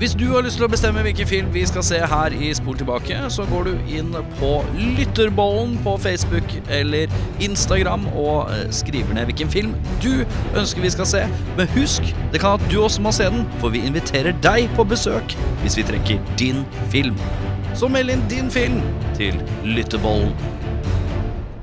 Hvis du har lyst til å bestemme hvilken film vi skal se her i Spol tilbake, så går du inn på Lytterbollen på Facebook eller Instagram og eh, skriver ned hvilken film du ønsker vi skal se. Men husk, det kan at du også må se den, for vi inviterer deg på besøk hvis vi trekker din film. Så meld inn din film til Lytterbollen.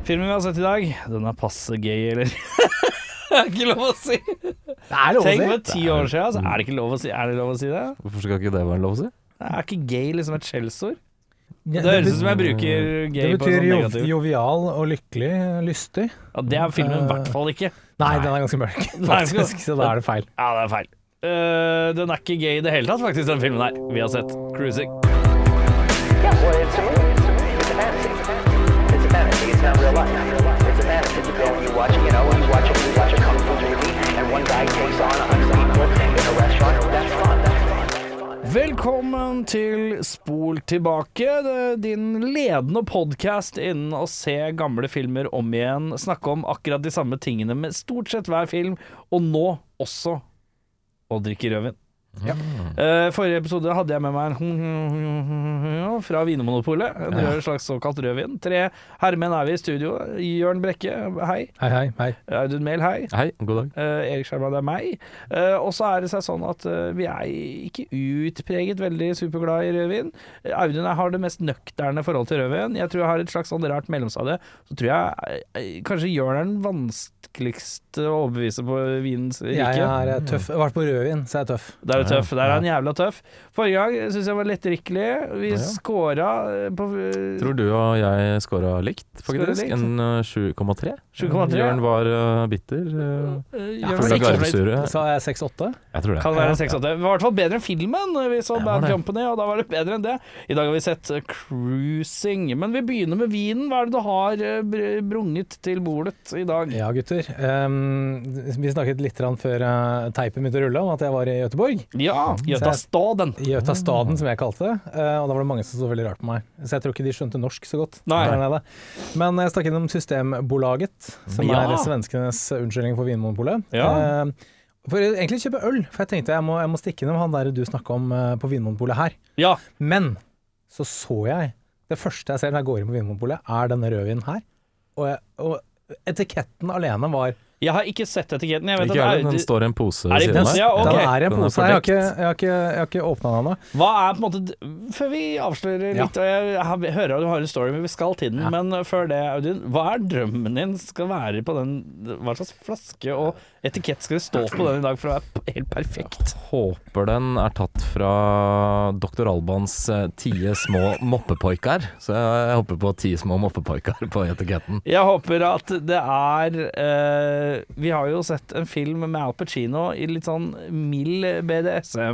Filmen vi har sett i dag, den er passe gay, eller? Det er ikke lov å si. Det er lov å Tenk si. for ti år siden, altså. Er det ikke lov å si, er det lov å si det? Hvorfor skal ikke det være lov å si? Det er ikke gay liksom et skjellsord? Ja, Det det høres ut bet- som jeg bruker det gay på betyr sånn jo, negativ. jovial og lykkelig, lystig. Ja, det er filmen i hvert fall ikke. Nei, den er ganske mørk, Nei, faktisk, så da er det feil. Ja, det er feil. Eh, den er ikke gay i det hele tatt, faktisk, den filmen her. Vi har sett 'Cruising'. Yeah, well, it's a movie. It's a fantasy. It's a fantasy. It's not real life. It's a fantasy. You go and you watch, you know, you watch a, you watch a kung fu movie, and one guy takes on a hundred people in a restaurant. That's fun. That's fun. Velkommen til Spol tilbake, det- din ledende podkast innen å se gamle filmer om igjen, snakke om akkurat de samme tingene med stort sett hver film, og nå også å drikke rødvin. Eh, forrige episode hadde jeg med meg en fra Vinmonopolet. En rød slags såkalt rødvin. Tre herremenn er vi i studio. Jørn Brekke, hei. Hei, hei, hei. Audun Mehl, hei. Hei, god dag. Eh, Erik Skjerma, det er meg. Eh, og så er det seg sånn at eh, vi er ikke utpreget veldig superglad i rødvin. Eh, Audun jeg har det mest nøkterne forhold til rødvin. Jeg tror jeg har et slags sånn rart mellomstadie. Så tror jeg eh, eh, kanskje Jørn er den vanskeligste å overbevise på vinens rike. Jeg er eh, tøff. Jeg har vært på rødvin, så jeg er tøff. Der er du tøff. Der er han jævla tøff. Forrige gang syns jeg var lettdrikkelig. Vi Ja. scora eh, på eh, Tror du og jeg scora likt, Skåra faktisk. likt. En eh, 7,3. 7,3, ja. Jørn var eh, bitter. eh, eh, Ja, Jørn for var det Full av er ikke fornøyd. garvesure. Så er jeg 6-8. Jeg tror det. Kan være 6-8. Det var i hvert fall bedre enn filmen. eh, Vi så Det var Bad det. Company, og da var det bedre enn det. I dag har vi sett eh, Cruising. Men vi begynner med vinen. Hva er det du har eh, br- brunget til bordet i dag? Ja, gutter. Ehm, vi snakket litt grann før eh, teipen begynte å rulle om at jeg var i Gøteborg. Ja, Jøta Staden. Gjøtastaden, som jeg kalte det. Eh, og da var det mange som så veldig rart på meg. Så jeg tror ikke de skjønte norsk så godt. Nei. der nede. Men jeg stakk innom Systembolaget, som Ja. er svenskenes unnskyldning for Vinmonopolet. Ja. Eh, for å egentlig kjøpe øl, for jeg tenkte jeg må, jeg må stikke innom han der du snakka om eh, på Vinmonopolet her. Ja. Men så så jeg Det første jeg ser når jeg går inn på Vinmonopolet, er denne rødvinen her. Og, jeg, og etiketten alene var Jeg har ikke sett etiketten. Jeg vet Ikke jeg, at den Audi- står i en pose Er det i ved siden pose? av. Ja, ok. Den er i en Den er pose her. Jeg har fordekt. ikke, jeg har ikke, jeg har ikke åpna den ennå. Hva er på en måte d- Før vi avslører Ja. litt, og jeg, har- jeg hører at du har en story, men vi skal til den. Men eh, før det, Audun, hva er drømmen din skal være på den? Hva slags flaske og etikett skal det stå på den i dag for å være p- helt perfekt? Håper den er tatt fra Dr. Albans eh, tie små moppepoikar. Så jeg jeg håper på ti små moppepoikar på etiketten. Jeg håper at det er eh, Vi har jo sett en film med Al Pacino i litt sånn mild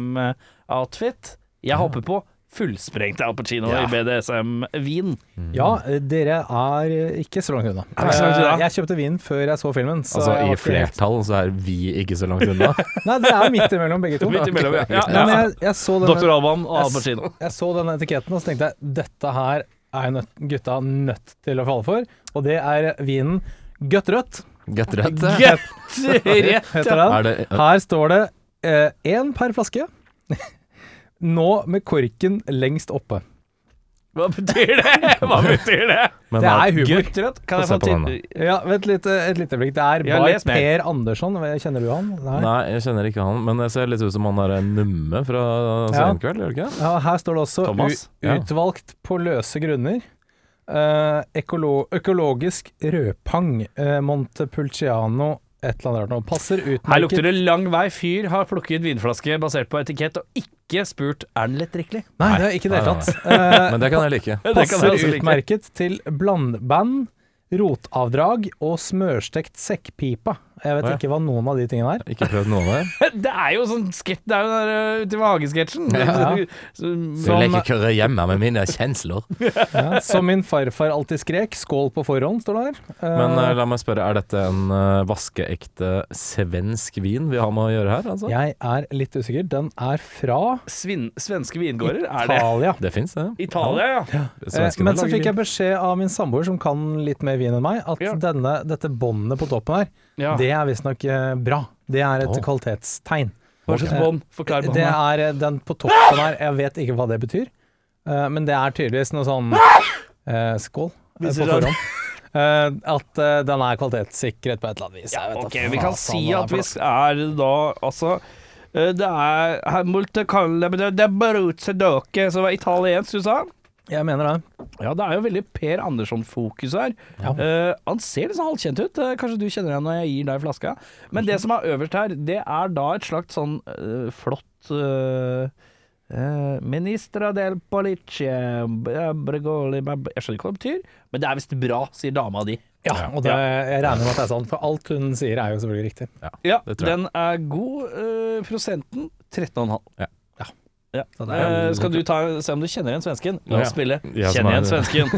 BDSM-outfit. Jeg håper på fullsprengt Al Pacino Ja. i BDSM-vin. Ja, dere er eh, ikke så langt unna. Er vi så langt unna? Eh, Jeg kjøpte vin før jeg så filmen. Så Altså jeg i var ikke helt- flertall så er vi ikke så langt unna. Nei, det er midt imellom begge to. Midt imellom, ja. ja, Nei, men ja. jeg, jeg, så Dr. denne, Alban og Al Pacino. jeg så denne etiketten og så tenkte jeg dette her er nødt, gutta nødt til å falle for, og det er vinen Gøtt rødt, Godt rett. eh. Gøtt rett! heter den. Er det Her står det én per flaske. Nå med korken lengst oppe. Hva betyr det? Hva betyr det? men Det er- er humor. Gøtt rødt? Kan Få jeg se få på den til Ja, vent litt, eh, et lite øyeblikk. Det er Jeg har by lest mer. Per Andersson. Kjenner du han? Nei, jeg kjenner ikke han, men jeg ser litt ut som han derre numme fra Ja. Senkveld, gjør det ikke? det? Ja, her står det også Thomas? u- Ja. utvalgt på løse grunner. Eh, økolo økologisk rødpang, eh, Montepulciano, et eller annet rart noe. Passer utmerket Her lukter det lang vei. Fyr har plukket vinflaske basert på etikett og ikke spurt er den lettdrikkelig. Nei, det er ikke det hele Nei, nei, tatt. Eh, Men det kan jeg like. Det kan jeg passer altså like. utmerket til blandband, rotavdrag og smørstekt sekkpipa. Jeg vet Å, ja. ikke hva noen av de tingene er. Ikke prøvd noen av det. Det er jo sånn sketsj Det er jo den der øh, Ute ved hagen-sketsjen. Ja. Så- Som- køre hjemme med mine kjensler. Ja, som min farfar alltid skrek, skål på forhånd, står det her. Eh, Men eh, la meg spørre, er dette en eh, vaskeekte svensk vin vi har med å gjøre her? Altså? jeg er litt usikker. Den er fra Svin, svenske vingårder, er det? Italia. Det fins, det. Italia, ja. Eh, Svenskene Men så lager fikk jeg vin. beskjed av min samboer, som kan litt mer vin enn meg, at Ja. denne, dette båndet på toppen her, ja. det er visstnok eh, bra. Det er et Å. kvalitetstegn. Eh, Hva slags bånd? Forklar Det meg. er eh, den på Ah! toppen her, jeg vet ikke hva det betyr, eh, men det er tydeligvis noe sånn eh, Skål eh, på Ah! Viser seg. forhånd. Eh, at eh, den er kvalitetssikret på et eller annet vis. Jeg vet da Ok, faen vi kan hva si det er at for vi noe. er da Altså eh, det er her multicalle, men det det er Baruzzi Doke, som er italiensk, du sa? Jeg mener det. Ja, det er jo veldig Per Andersson-fokus her. Ja. Eh, han ser liksom halvkjent ut. Eh, kanskje du kjenner igjen når jeg gir deg flaska. Men det som er øverst her, det er da et slags sånn eh, flott eh, eh, Ministra del police Bregoli bab- Jeg skjønner ikke hva det betyr, men det er visst bra, sier dama di. Ja, og det, jeg regner med at det er sant, for alt hun sier er jo selvfølgelig riktig. Ja, det tror jeg. den er god. eh, prosenten 13,5. Ja. Ja. Ja. Så det er- Eh, skal du ta, se om du kjenner igjen svensken? La oss Ja. spille. Jeg som Kjenn igjen er- svensken.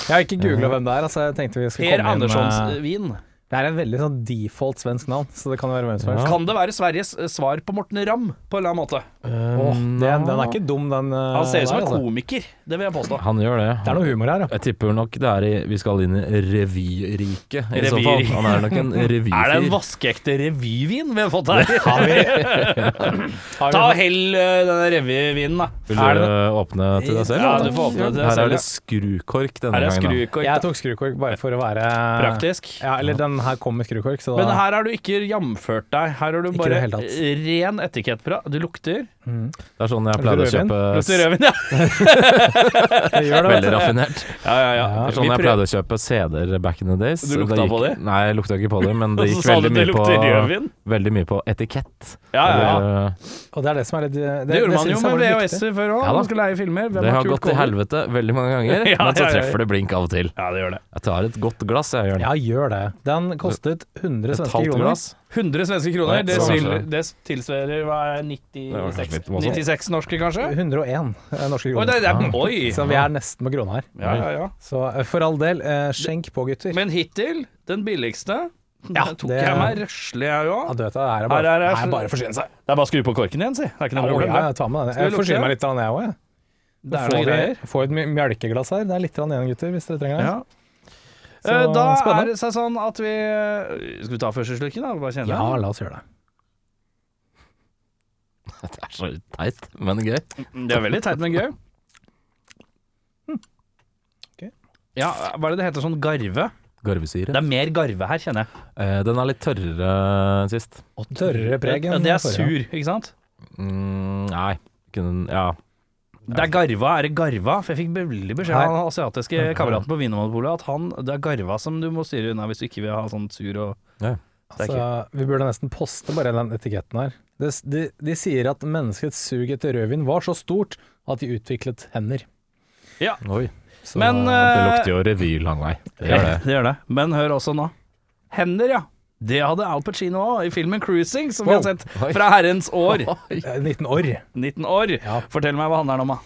Jeg har ikke googla hvem det er, altså jeg tenkte vi skulle Per komme inn Anderssons med- eh, vin. Det er en veldig sånn default svensk navn, så det kan jo være hvem som helst. Kan det være Sveriges eh, svar på Morten Ramm, på en eller annen måte? Åh, Mm, det, den er ikke dum, den. eh, Han ser ut som en der, altså. komiker, det vil jeg påstå. Han gjør det. Det er noe humor her, ja. Jeg tipper nok det er i Vi skal inn i revyriket, i så fall. Revyriket. Han er nok en revyfyr. Er det en vaskeekte revyvin vi har fått her? Ta og Har vi- hell eh, denne revyvinen, da. Vil Er du det- åpne til deg selv? Ja, eller? du får åpne til deg Her selv, ja. er det skrukork denne Her er gangen. da. skrukork. Jeg da. tok skrukork bare for å være Praktisk. Ja, eller den her kom med skrukork, så da Men her har du ikke jamført deg. Her har du Ikke bare eh, i det hele tatt. ren etikettprat. Du lukter Mm. Det er sånn jeg Er pleier det å kjøpe Lukter rødvin, ja. Jeg gjør det, vet Veldig du. raffinert. Ja, ja, ja. Det er Vi sånn jeg prøv- pleide å kjøpe CD-er back in the days. Du lukta gikk, på det? Nei, jeg lukta ikke på det, men det Og så gikk sa du det veldig mye, lukter på, rødvin. veldig mye på etikett. Ja, ja, ja. Eller, Og det er det som er litt Det gjorde Det, man jo synes jeg med var litt viktig. VHS-er før òg. Ja da. Man skulle leie filmer. Hvem det har kult gått til koder? helvete veldig mange ganger, Ja, men så ja, ja. treffer det blink av og til. Ja, det gjør det. Jeg tar et godt glass, jeg gjør det. Ja, gjør det. Den kostet 100 Et svenske halvt kroner. glass. 100 svenske Nei, kroner. Det, det var svil, kanskje- det tilsvarer hva er det, Det var kanskje 96, litt voldsomt. 96 norske, kanskje? 101 eh, norske Oi, kroner. det, det, er- oi. Så vi er nesten på krona her. Ja, ja, ja. Så eh, for all del, eh, skjenk på, gutter. Men hittil, den billigste, Ja, den tok det- jeg meg røslig, jeg ja, òg. du vet, det her er Her bare, er det- her er bare å forsyne seg. Det er bare å skru på korken igjen, si. Det er ikke noe Ja, problem. ja, det. jeg tar med den. Skal vi Jeg forsyner lukte? meg litt, av den jeg òg. Det er noe greier. Får et my- mjølkeglass her. Det er litt igjen, gutter, hvis dere trenger det. Ja. Så, Eh, da spennende. er det seg sånn at vi Skal vi ta første slurken, da? Bare kjenne? Ja, la oss gjøre det. Det er så teit, men gøy. Det er veldig teit, men gøy. Hm. Ok. Ja, hva er det det heter? Sånn garve? Det Garvesyre. er mer garve her, kjenner jeg. Eh, Den er litt tørrere enn sist. Tørrere preg Ja, enn det er forrige. sur, ikke sant? Mm, nei. Kunne, ja. Det er garva, er det garva? For jeg fikk veldig beskjed av Her. den asiatiske kameraten på Vinmonopolet at han, det er garva som du må styre unna hvis du ikke vil ha sånn sur og Det ja. er Altså, vi burde nesten poste bare den etiketten her. De, de, de sier at menneskets sug etter rødvin var så stort at de utviklet hender. Oi. Så Men, det eh, lukter jo revy lang vei. Det gjør det. det gjør det. Men hør også nå. Hender, ja. Det hadde Al Pacino òg i filmen 'Cruising', som vi har Wow. sett Oi. fra herrens år. Eh, 19 år. 19 år. Ja. Fortell meg hva handler den om, da.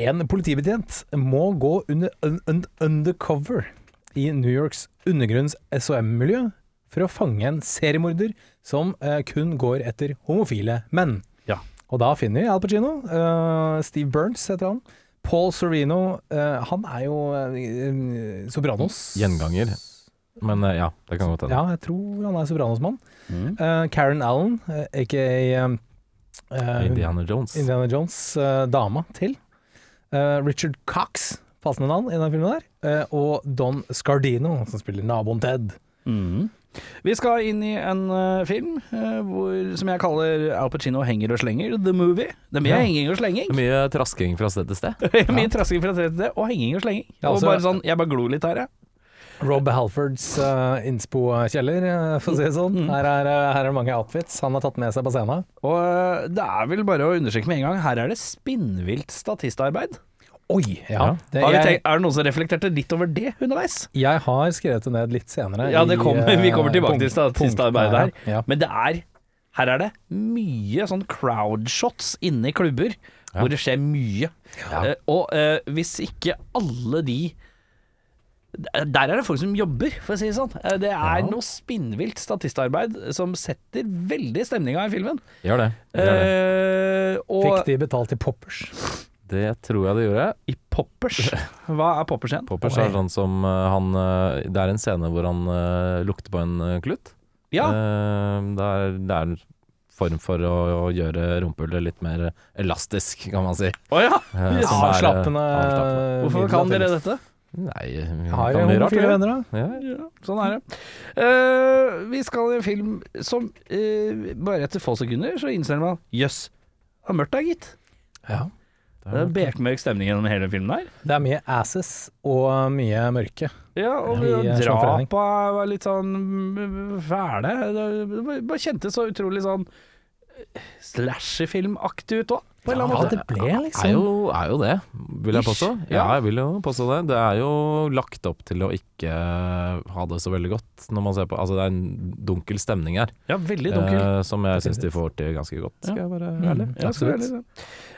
En politibetjent må gå under, un, un, undercover i New Yorks undergrunns SOM-miljø for å fange en seriemorder som eh, kun går etter homofile menn. Ja. Og da finner vi Al Pacino. eh, Steve Burns heter han. Paul Sorvino. eh, han er jo eh, Sopranos. Gjenganger. Men eh, ja, det kan godt hende. Ja, jeg tror han er Sopranos-mann. Eh, Karen Allen, eh, aka eh, eh, Indiana Jones. Indiana Jones, eh, dama til. Eh, Richard Cox, passende navn i den filmen der. Eh, og Don Scardino, som spiller naboen Ted. Mhm. Vi skal inn i en eh, film eh, hvor, som jeg kaller Al Pacino henger og slenger, The Movie. Det er mye Ja. henging og slenging. Det er Mye trasking fra sted til sted. Mye trasking fra sted til sted, og henging og slenging. Ja, og altså- bare sånn, jeg bare glor litt her, jeg. Rob Halfords eh, innspo-kjeller, eh, for å si det sånn. Mm. Her er, eh, her er det mange outfits han har tatt med seg på scenen. Og eh, det er vel bare å understreke med en gang, her er det spinnvilt statistarbeid. Oi! Ja. Ja. Det, Har vi jeg, tenkt, er det noen som reflekterte litt over det underveis? jeg har skrevet det ned litt senere. Ja, det i, kommer, eh, vi kommer tilbake til punkt- statistarbeidet her. punktene Ja. Men det er her er det mye sånn crowdshots inne i klubber hvor det skjer mye. Eh, og eh, hvis ikke alle de Der er det folk som jobber, for å si det sånn. Eh, det er noe spinnvilt statistarbeid som setter veldig stemninga i filmen. Gjør det. Gjør det. Eh, og Fikk de betalt i poppers? det tror jeg det gjorde. i poppers Hva er poppers igjen? Poppers er sånn som eh, han eh, Det er en scene hvor han eh, lukter på en eh, klutt. Ja, Eh, det, er, det er form for å, å gjøre rumpehullet litt mer elastisk, kan man si. Å ja! Eh, Ja, som er, eh, slappende avslappende. Hvorfor kan dere dette? Nei, vi Har kan jeg mye rart. homofile vi. venner, da? Ja, Ja, sånn er det. Eh, vi skal i en film som eh, bare etter få sekunder så innser man jøss, det er mørkt der, gitt. Ja. Det er bekmørk stemning gjennom hele filmen her. Det er mye asses og mye mørke. Ja, og Ja, i, eh, sånn drapa var litt sånn mm, fæle. Det var- bare kjentes så utrolig sånn slasherfilmaktig ut òg, på en eller annen Ja, måte. det ble liksom Er jo, er jo det, vil jeg Ish. påstå. Ja, Ja. jeg vil jo påstå det. Det er jo lagt opp til å ikke eh, ha det så veldig godt når man ser på Altså, det er en dunkel stemning her, Ja, veldig dunkel. eh, som jeg syns de får til ganske godt, skal jeg være ærlig. Ja, så Absolutt. veldig sånn.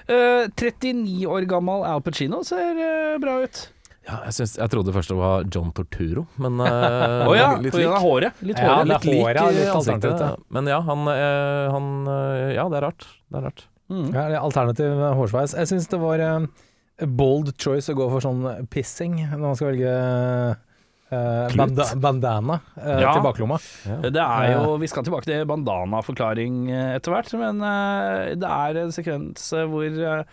Eh, 39 år gammel Al Pacino ser eh, bra ut. Ja, jeg, syns- jeg trodde først det var John Torturo, men eh, Å ja, litt på grunn av lik. håret. Litt Ja, håret. det er litt lik. håret er litt i alternativt, ja. ansiktet. Men ja, han, eh, han eh, Ja, det er rart. Det er rart. Mm. Ja, eller alternativ hårsveis. Jeg syns det var en bold choice å gå for sånn pissing når man skal velge eh, Klut? banda bandana eh, Ja. til baklomma. Det er jo, Vi skal tilbake til bandana-forklaring eh, etter hvert, men eh, det er en sekvens eh, hvor eh,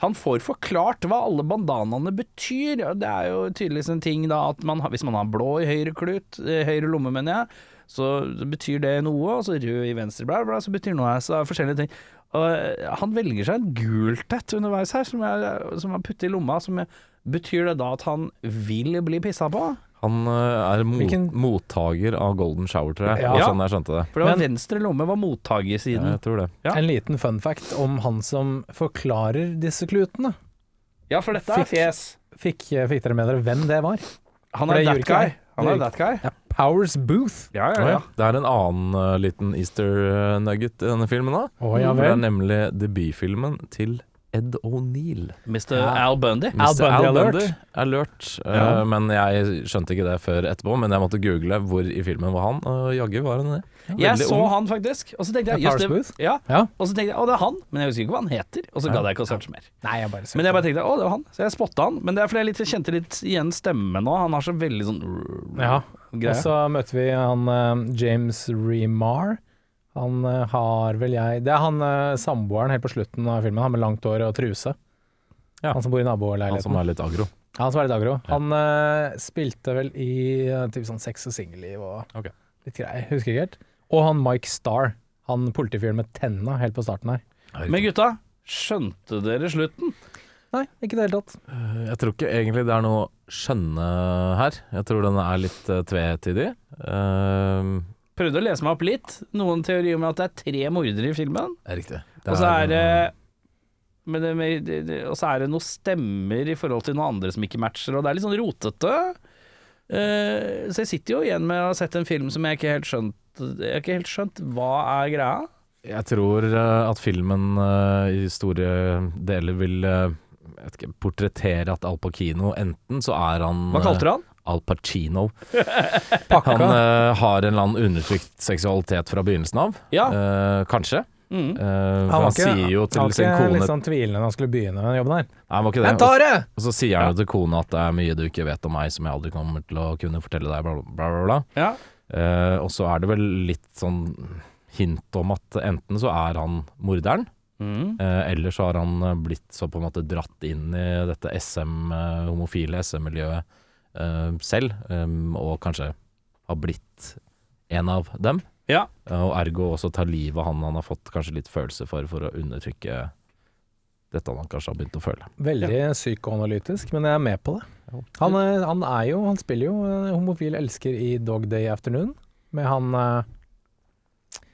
han får forklart hva alle bandanaene betyr. og Det er jo tydeligvis en ting da at man, har- hvis man har blå i høyre klut, eh, høyre lomme mener jeg, så betyr det noe, og så rød i venstre, bla, bla, så betyr noe, så er det forskjellige ting. Og eh, han velger seg en gult et underveis her, som, er, som han putter i lomma, som er- betyr det da at han vil bli pissa på? Han eh, er mot, Hvilken- mottager av Golden Shower, tror jeg. Ja. Det var Sånn jeg skjønte det. For det var Men- venstre lomme var mottagersiden. Ja, jeg tror det. Ja. En liten fun fact om han som forklarer disse klutene. Ja, for dette Fikk- er fjes. Fikk, eh, fikk dere med dere hvem det var? Han For er det that gjorde ikke guy. jeg. Han er Det that guy. Ja, Powers Booth. Ja, Å ja. Det er en annen eh, liten easter eh, nugget i denne filmen òg. Å, ja det er vel. nemlig debutfilmen til Ed O'Neill. Mr. Ja. Al Bundy. Al Mr. Bundy alert. alert. Eh, Ja. men jeg skjønte ikke det før etterpå, men jeg måtte google hvor i filmen var han, og jaggu var han det. Jeg Veldig så ung. han faktisk, og så tenkte jeg Ja, just Powers det, ja. Ja. Og så tenkte jeg, å det er han, men jeg husker ikke hva han heter. Og så gadd jeg ikke å searche mer. Nei, jeg bare Men jeg bare tenkte å det var han, så jeg spotta han. Men det er fordi jeg litt, kjente litt igjen stemmen nå. Han har så veldig sånn Ja. altså- greie. Og så møter vi han eh, James Remar. Han eh, har vel jeg Det er han eh, samboeren helt på slutten av filmen, han med langt hår og truse. Ja. Han som bor i Han som naboleiligheten. er litt aggro. Han som er litt aggro. Han eh, spilte vel i eh, typ sånn sex og singelliv og Ok. litt greier, husker ikke helt. Og han Mike Starr, han politifyren med tenna helt på starten her. Men gutta, skjønte dere slutten? Nei, ikke i det hele tatt. Eh, Jeg tror ikke egentlig det er noe skjønne her. Jeg tror den er litt eh, tvetydig. Eh, Prøvde å lese meg opp litt. Noen teorier om at det er tre mordere i filmen. det er riktig. Det Og så er eh, det men det, men det, det, og så er det noen stemmer i forhold til noen andre som ikke matcher, og det er litt sånn rotete. Eh, så jeg sitter jo igjen med å ha sett en film som jeg ikke helt skjønt Jeg har ikke helt skjønt hva er greia. Jeg tror eh, at filmen eh, i store deler vil eh, jeg vet ikke, portrettere at Al Pacino enten så er han Hva kalte du han? eh, Al Pacino. Pakka. Han eh, har en eller annen undertrykt seksualitet fra begynnelsen av. Ja. Eh, kanskje. Eh, Mm. for var han ikke- sier jo han til var sin ikke kone litt sånn tvilende når han skulle begynne med den jobben her. Nei, han var ikke det. Jeg tar det! Og så sier han jo til kona at det er mye du ikke vet om meg som jeg aldri kommer til å kunne fortelle deg, bla, bla, bla. bla. Ja. Eh, og så er det vel litt sånn hint om at enten så er han morderen, Mm. Eh, Eller så har han eh, blitt så på en måte dratt inn i dette SM, eh, homofile SM-miljøet eh, selv, em, og kanskje har blitt en av dem. ja. eh, Og ergo også tar livet av han han har fått kanskje litt følelse for, for å undertrykke dette han kanskje har begynt å føle. Veldig psykoanalytisk, men jeg er med på det. Han, eh, han er jo, han spiller jo en homofil elsker i Dog Day Afternoon, med han eh,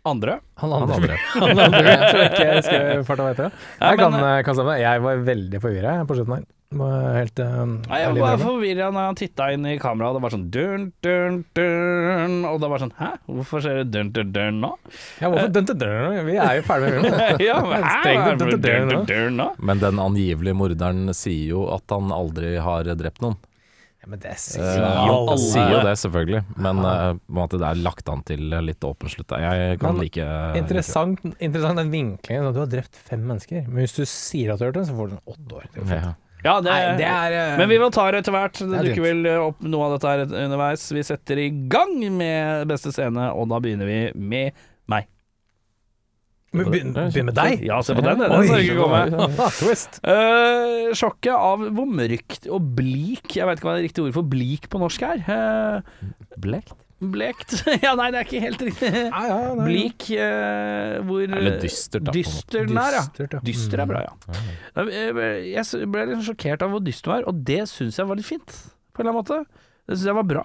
Andre. han Han andre. andre. Han andre jeg tror ikke jeg husker i farta hva heter. det. Ja, Jeg kan, men, eh, kan stemme. Jeg var veldig forvirra på slutten her. Var Helt eh, Nei, jeg ærlig var innrømme. forvirra når han titta inn i kameraet, og det var sånn dun, dun, dun, Og det var sånn Hæ, hvorfor skjer det dun, dun, dun nå? ja, hvorfor dun, dun, dun? Vi er jo ferdig med filmen. ja, men, hæ, Strengt hvorfor dun, dun, dun, dun nå? dun, dun nå? Men den angivelige morderen sier jo at han aldri har drept noen. Ja, men det Eh, sier jo han alle. sier jo det, selvfølgelig, men eh, på en måte det er lagt an til litt åpen slutt. Jeg kan Men like Interessant, interessant den vinklingen. sånn at Du har drept fem mennesker, men hvis du sier at du har gjort det, så får du en åtte år. Det er jo fett. Ja. Ja, det, Nei, det er eh, Men vi vil ta det etter hvert. Det er dukker vel opp noe av dette her underveis. Vi setter i gang med beste scene, og da begynner vi med meg. Men begynn begynn med deg! Ja, se på den, den Oi. skal ikke komme. Ah, twist. Eh, sjokket av hvor mørkt og blik Jeg vet ikke hva det riktige ordet for blik på norsk er. Eh, Blekt? blekt Ja, nei, det er ikke helt riktig. Ja, ja, ja, ja. Blik eh, hvor Eller dystert, da, på en måte. Dyster den er, Dystert, ja. ja. Dyster er bra, ja. Nei, Jeg ble- jeg ble litt sånn sjokkert av hvor dyster den var, og det syns jeg var litt fint, på en eller annen måte. Det syns jeg var bra.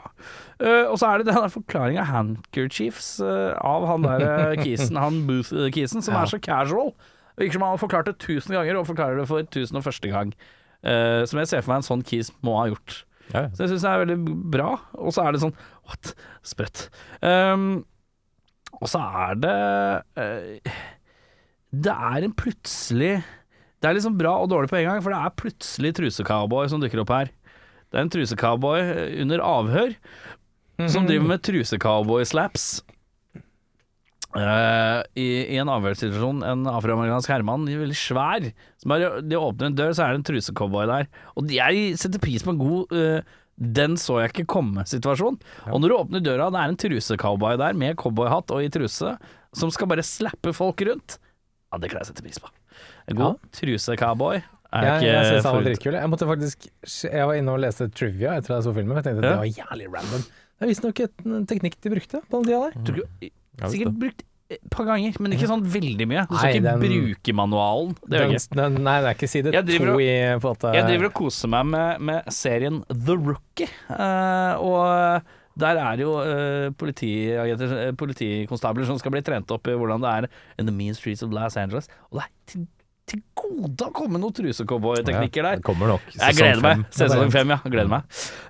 Eh, og så er det den forklaringa av handkerchiefs eh, av han der eh, Kisen, han Booth-Kisen, som er så casual. Det Virker som han har forklart det tusen ganger, og forklarer det for tusen og første gang. Eh, som jeg ser for meg en sånn Kis må ha gjort. Ja, ja. Så jeg syns det er veldig bra. Og så er det sånn What? Sprøtt. Ehm, og så er det eh, Det er en plutselig Det er liksom bra og dårlig på en gang, for det er plutselig trusecowboy som dukker opp her. Det er en trusecowboy eh, under avhør Mhm. som driver med trusecowboy-slaps. Eh, i, I en avhørssituasjon, en afroamerikansk herremann, veldig svær som bare, De åpner en dør, så er det en trusecowboy der. Og jeg setter pris på en god eh, 'den så jeg ikke komme'-situasjon. Og når du åpner døra, det er en trusecowboy der med cowboyhatt og i truse, som skal bare slappe folk rundt. Ja, det kan jeg sette pris på. En god trusecowboy er Jeg, ikke jeg synes han var forut- dritkul. Jeg måtte faktisk Jeg var inne og leste trivia etter at jeg så filmen. for Jeg tenkte Ja. det var jævlig random. Det er visstnok et- en teknikk de brukte på den tida der. Tror ikke- visst Sikkert brukt eh, et par ganger, men ikke sånn veldig mye. Du Nei, skal ikke den- bruke manualen. Det gjør Den, jeg ikke. den, nei, det er ikke side Jeg driver to og- i på at, Jeg driver og koser meg med, med serien The Rookie. eh, og der er jo eh, politiagenter, eh, politikonstabler som skal bli trent opp i hvordan det er in the mean streets of Los Angeles. Og det er til, til gode å komme noen trusecowboy-teknikker Ja, der. Det kommer nok. Jeg gleder meg. Sesong Det er fem, ja. Gleder meg.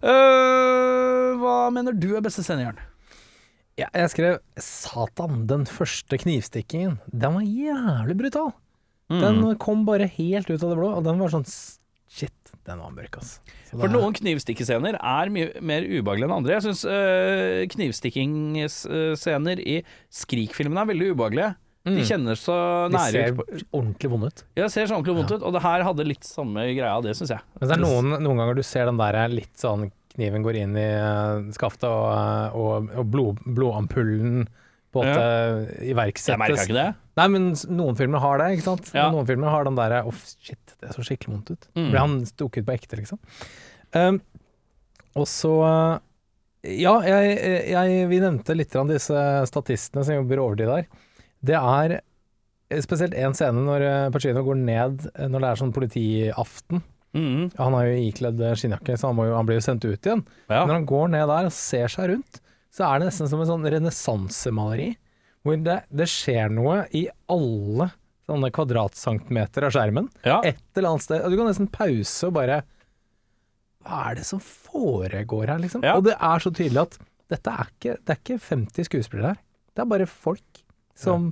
Eh, hva mener du er beste scene, Jørn? Ja, jeg skrev 'Satan, den første knivstikkingen'. Den var jævlig brutal. Mm. Den kom bare helt ut av det blå, og den var sånn s- Shit, den var mørk, ass. Så For det- noen knivstikkescener er mye mer ubehagelige enn andre. Jeg syns øh, knivstikkingsscener i Skrik-filmene er veldig ubehagelige. De kjenner så Mm. de nære ser ut. på- ordentlig vonde ut. Ja, det ser så ordentlig vondt ut, og det her hadde litt samme greia, det syns jeg. Men det er noen, noen ganger du ser den der litt sånn kniven går inn i eh, skaftet, og, eh, og, og blod, blodampullen på en måte Jeg merka iverksettes. ikke det. Nei, men s- noen filmer har det, ikke sant? Ja. Mm. Men Noen filmer har den der Å, shit, det så skikkelig vondt ut. Ble han stukket på ekte, liksom? Um, og så eh, Ja, jeg, jeg, vi nevnte litt av disse statistene som jobber overtid der. Det er eh, spesielt én scene når eh, Pacino går ned eh, når det er sånn politiaften. Mhm. Han har jo ikledd skinnjakke, så han, må jo, han blir jo sendt ut igjen. Ja. Når han går ned der og ser seg rundt, så er det nesten som en sånn renessansemaleri. Hvor det, det skjer noe i alle sånne kvadratcentimeter av skjermen. Ja. Et eller annet sted. Og du kan nesten pause og bare Hva er det som foregår her, liksom? Ja. Og det er så tydelig at dette er ikke, det er ikke 50 skuespillere her. Det er bare folk som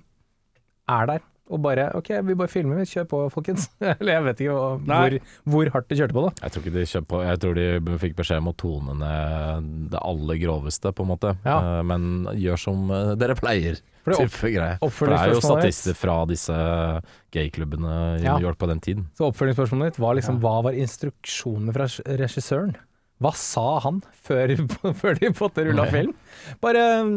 er der. Og bare OK, vi bare filmer, vi kjør på, folkens. Eller jeg vet ikke hva, Nei. hvor, hvor hardt de kjørte på, da. Jeg tror, ikke de kjøpt på, jeg tror de fikk beskjed om å tone ned det aller groveste, på en måte. Ja. Eh, Men gjør som eh, dere pleier. For det opp- Type greie. For det er jo oppfølgingsspørsmålet ditt- statister fra disse gayklubbene i Ja. New York på den tiden. Så oppfølgingsspørsmålet ditt var liksom hva var instruksjonene fra regissøren? Hva sa han før, før de fått rulla film? Bare um,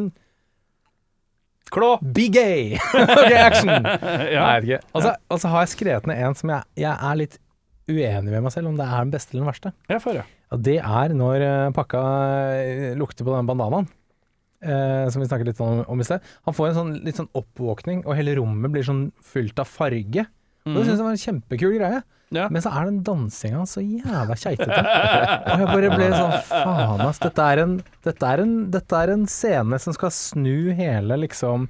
Klå! be gay! ok, action! Nei, Ja. jeg vet ikke. Og så- Og så har jeg skrevet ned en som jeg, jeg er litt uenig med meg selv om det er den beste eller den verste. Jeg får det. Og det er når eh, pakka eh, lukter på den bandanaen. eh, som vi snakket litt om, om i sted. Han får en sånn, litt sånn oppvåkning, og hele rommet blir sånn fylt av farge. Og Det syns jeg var en kjempekul greie. Ja. Men så er den dansinga så jævla keitete. Og jeg bare ble sånn faen ass, dette er, en, dette, er en, dette er en scene som skal snu hele liksom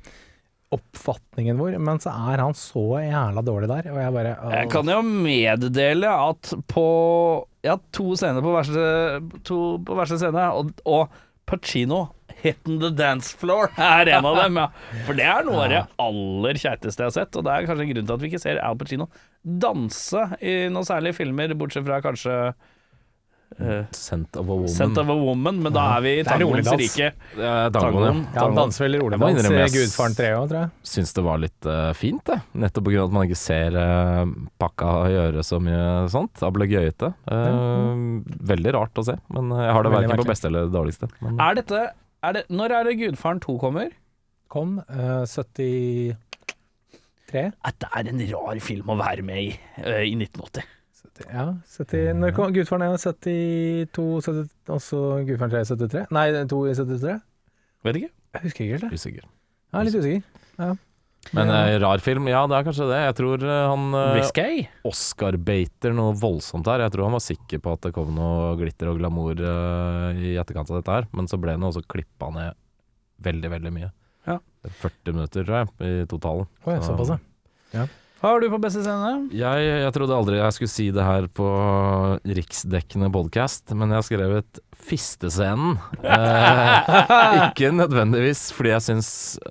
oppfatningen vår, men så er han så jævla dårlig der, og jeg bare Jeg kan jo meddele at på Jeg har to scener på verste, to på verste scene, og, og Pacino Hit on the dance floor er en av dem, ja. For det er noe av det aller kjeiteste jeg har sett, og det er kanskje en grunn til at vi ikke ser Al Pacino danse i noen særlige filmer, bortsett fra kanskje eh, Sent of a woman. Sent of a Woman, men da er vi i Det er rolig tangoens dans. rike. Eh, Tangoen. Tangoen, Ja, han danser veldig rolig. Jeg må Han innrømme, ser jeg s- Gudfaren 3 òg, tror jeg. ja. Syns det var litt eh, fint, det. Nettopp på grunn av at man ikke ser eh, pakka gjøre så mye sånt. Da ble gøyete. Eh, Veldig rart å se, men jeg har det Veldig verken på merkelig. beste eller dårligste. Men Er dette er det, Når er det Gudfaren 2 kommer? Kom eh, 70 Tre? at det er en rar film å være med i eh, i 1980. Ja, 70, når kom, Gudfaren 1 er 72, 70, og så Gudfaren 3 er 73? Nei, 2 er 73? Vet ikke. Jeg husker ikke helt det. Usikker. Jeg er litt usikker. Men eh, rar film, ja det er kanskje det. Jeg tror eh, han eh, Risky? Oscar-bater noe voldsomt her. Jeg tror han var sikker på at det kom noe glitter og glamour eh, i etterkant av dette her, men så ble han jo også klippa ned veldig, veldig mye. Ja. 40 minutter, tror jeg, i totalen. Å ja, Så- såpass, ja. Har du på beste scene? Jeg, jeg trodde aldri jeg skulle si det her på riksdekkende podkast, men jeg har skrevet 'fistescenen'. Eh, ikke nødvendigvis fordi jeg syns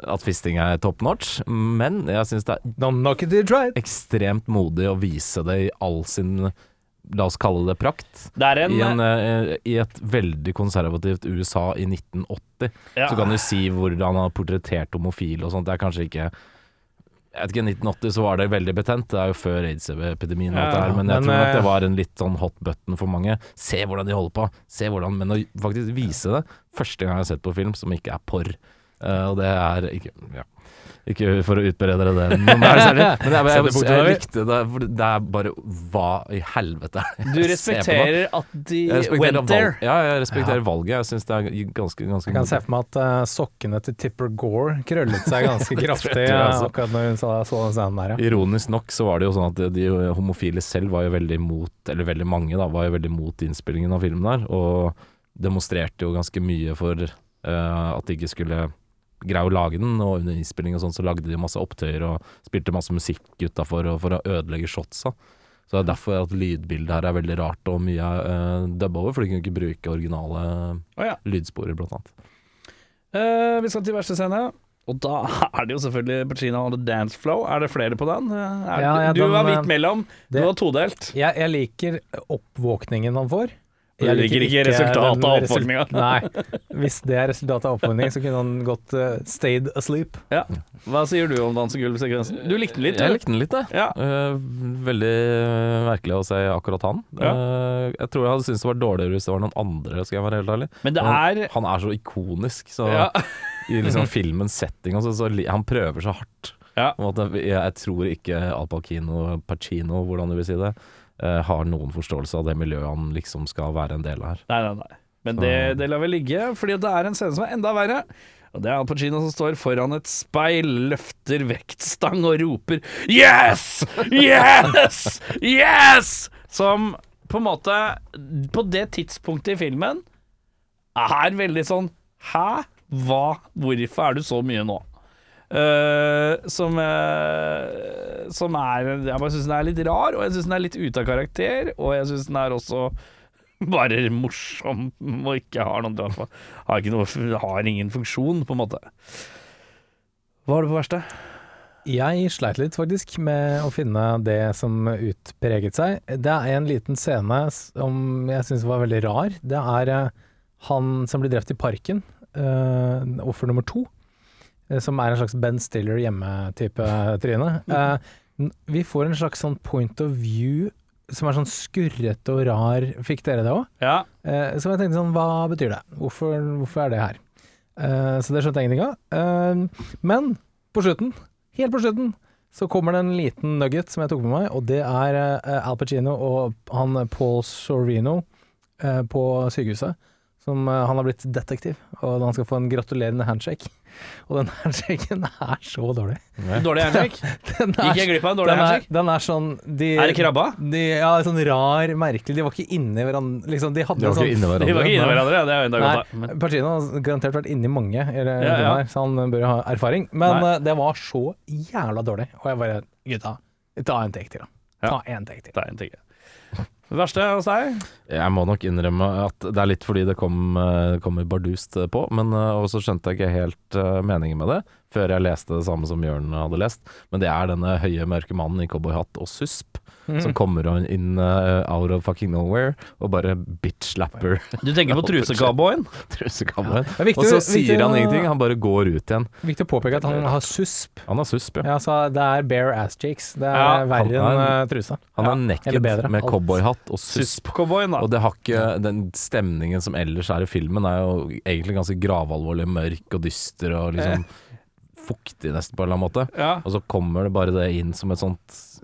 at fisting er top notch, men jeg syns det er Don't knock it till you try it. ekstremt modig å vise det i all sin La oss kalle det prakt. Det er en, I, en, eh, I et veldig konservativt USA i 1980 Ja. så kan du si hvordan han har portrettert homofile og sånt. Det er kanskje ikke jeg vet ikke, I 1980 så var det veldig betent, det er jo før aids-epidemien, og alt det Ja, her, men jeg men, tror nok eh, det var en litt sånn hot button for mange. Se hvordan de holder på, se hvordan Men å faktisk vise det, første gang jeg har sett på film som ikke er porr, eh, og det er ikke ja. Ikke for å utberede dere det, noe mer særlig, men jeg, jeg, jeg, jeg likte det. For det er bare Hva i helvete er det Du jeg ser på nå? respekterer at de Jeg respekterer went there. valg- Ja, jeg respekterer valget. Jeg syns det er ganske, ganske Jeg kan se for meg at eh, sokkene til Tipper Gore krøllet seg ganske kraftig jeg ja, også. akkurat når hun sa- så den scenen der, ja. Ironisk nok så var det jo sånn at de homofile selv var jo veldig imot Eller veldig mange da, var jo veldig imot innspillingen av filmen der Og demonstrerte jo ganske mye for eh, at de ikke skulle greie å lage den Og under innspillingen og sånn så lagde de masse opptøyer Og spilte masse musikk utenfor og, for å ødelegge shotsa Så det er derfor at lydbildet her er veldig rart Og mye er uh, dubba over For de kunne ikke bruke originale Å ja. lydsporer blant annet Eh, vi skal til verste scene. Og da er det jo selvfølgelig Pacino og The Dance Flow. Er det flere på den? Eh, Er, Ja, ja, du den, var eh, hvitt mellom. det- du var todelt. Jeg, jeg liker oppvåkningen han får. Du liker ikke resultatet av den resul- oppvåkninga. Nei. Hvis det er resultatet av oppvåkningen, så kunne han gått eh, stayed asleep. Ja. Hva sier du om dansegulvsekvensen? Du likte den litt, Jeg du. likte den litt, jeg Ja. Eh, veldig eh, merkelig å se akkurat han. Eh, jeg tror jeg hadde syntes det var dårligere hvis det var noen andre, skal jeg være helt ærlig. Men det han, er han er så ikonisk, så ja. i liksom filmens setting også, så li- han prøver så hardt. Ja. Om at jeg, jeg tror ikke Al Pacino, Pacino, hvordan du vil si det, eh, har noen forståelse av det miljøet han liksom skal være en del av her. Nei, nei, nei. Men det, det lar vi ligge, fordi det er en scene som er enda verre. Og det er Al Pacino som står foran et speil, løfter vektstang og roper 'Yes! Yes! Yes!' Som på en måte, på det tidspunktet i filmen, er veldig sånn 'Hæ? Hva? Hvorfor er du så mye nå?' Eh, som, eh, som er Jeg bare syns den er litt rar, og jeg syns den er litt ute av karakter, og jeg syns den er også bare morsom og ikke har noen drama. Har, ikke noe, har ingen funksjon, på en måte. Hva har du på verste? Jeg sleit litt faktisk med å finne det som utpreget seg. Det er en liten scene som jeg syns var veldig rar. Det er eh, han som blir drept i parken, eh, offer nummer to, eh, som er en slags Ben Stiller hjemme-type tryne. Eh, n- vi får en slags sånn point of view som er sånn skurrete og rar. Fikk dere det òg? Ja. Eh, Så jeg tenkte sånn, hva betyr det? Hvorfor, hvorfor er det her? Eh, Så det skjønte jeg ingenting av. Eh, Men på slutten, helt på slutten, så kommer det en liten nugget som jeg tok med meg, og det er eh, Al Pacino og han Paul Sorvino eh, på sykehuset. Som eh, han har blitt detektiv, og han skal få en gratulerende handshake. Og den handshaken er så dårlig. Dårlig handshake? Den er, Gikk jeg glipp av en dårlig den er, handshake? den er sånn de, Er det krabba? De, ja, sånn rar, merkelig. De var ikke inni hverandre. Liksom, de hadde De var en sånn ikke De inne var hverandre. ikke inne hverandre, ja, det er jo enda godt, da. Nei, Men, Pacino har garantert vært inni mange, i det- Ja, ja. her, så han bør jo ha erfaring. Men Nei. eh, det var så jævla dårlig, og jeg bare Gutta, ta en take til, da. Ta en take til. det er en ting. Det verste hos deg? Jeg må nok innrømme at det er litt fordi det kom, eh, kommer bardust på, men eh, også skjønte jeg ikke helt eh, meningen med det før jeg leste det samme som Jørn hadde lest. Men det er denne høye, mørke mannen i cowboyhatt og susp Mhm. som kommer inn- inn eh, out of fucking nowhere og bare bitch-lapper Du tenker på trusecowboyen? trusekammeren. er viktig- Og så viktig sier han å- ingenting, han bare går ut igjen. Viktig å påpeke at han har susp. Han har susp, ja. Ja, så det er bare ass cheeks. Det er Ja, verre han er- enn eh, trusa. Han er eller naked bedre, med alt. cowboyhatt og susp. Susp-cowboyen, Og da. det har ikke, den stemningen Eh. som ellers er i filmen, er jo egentlig ganske gravalvorlig, mørk og dyster og liksom fuktig nesten på en eller annen måte. Ja. Og så kommer det bare det inn som et sånt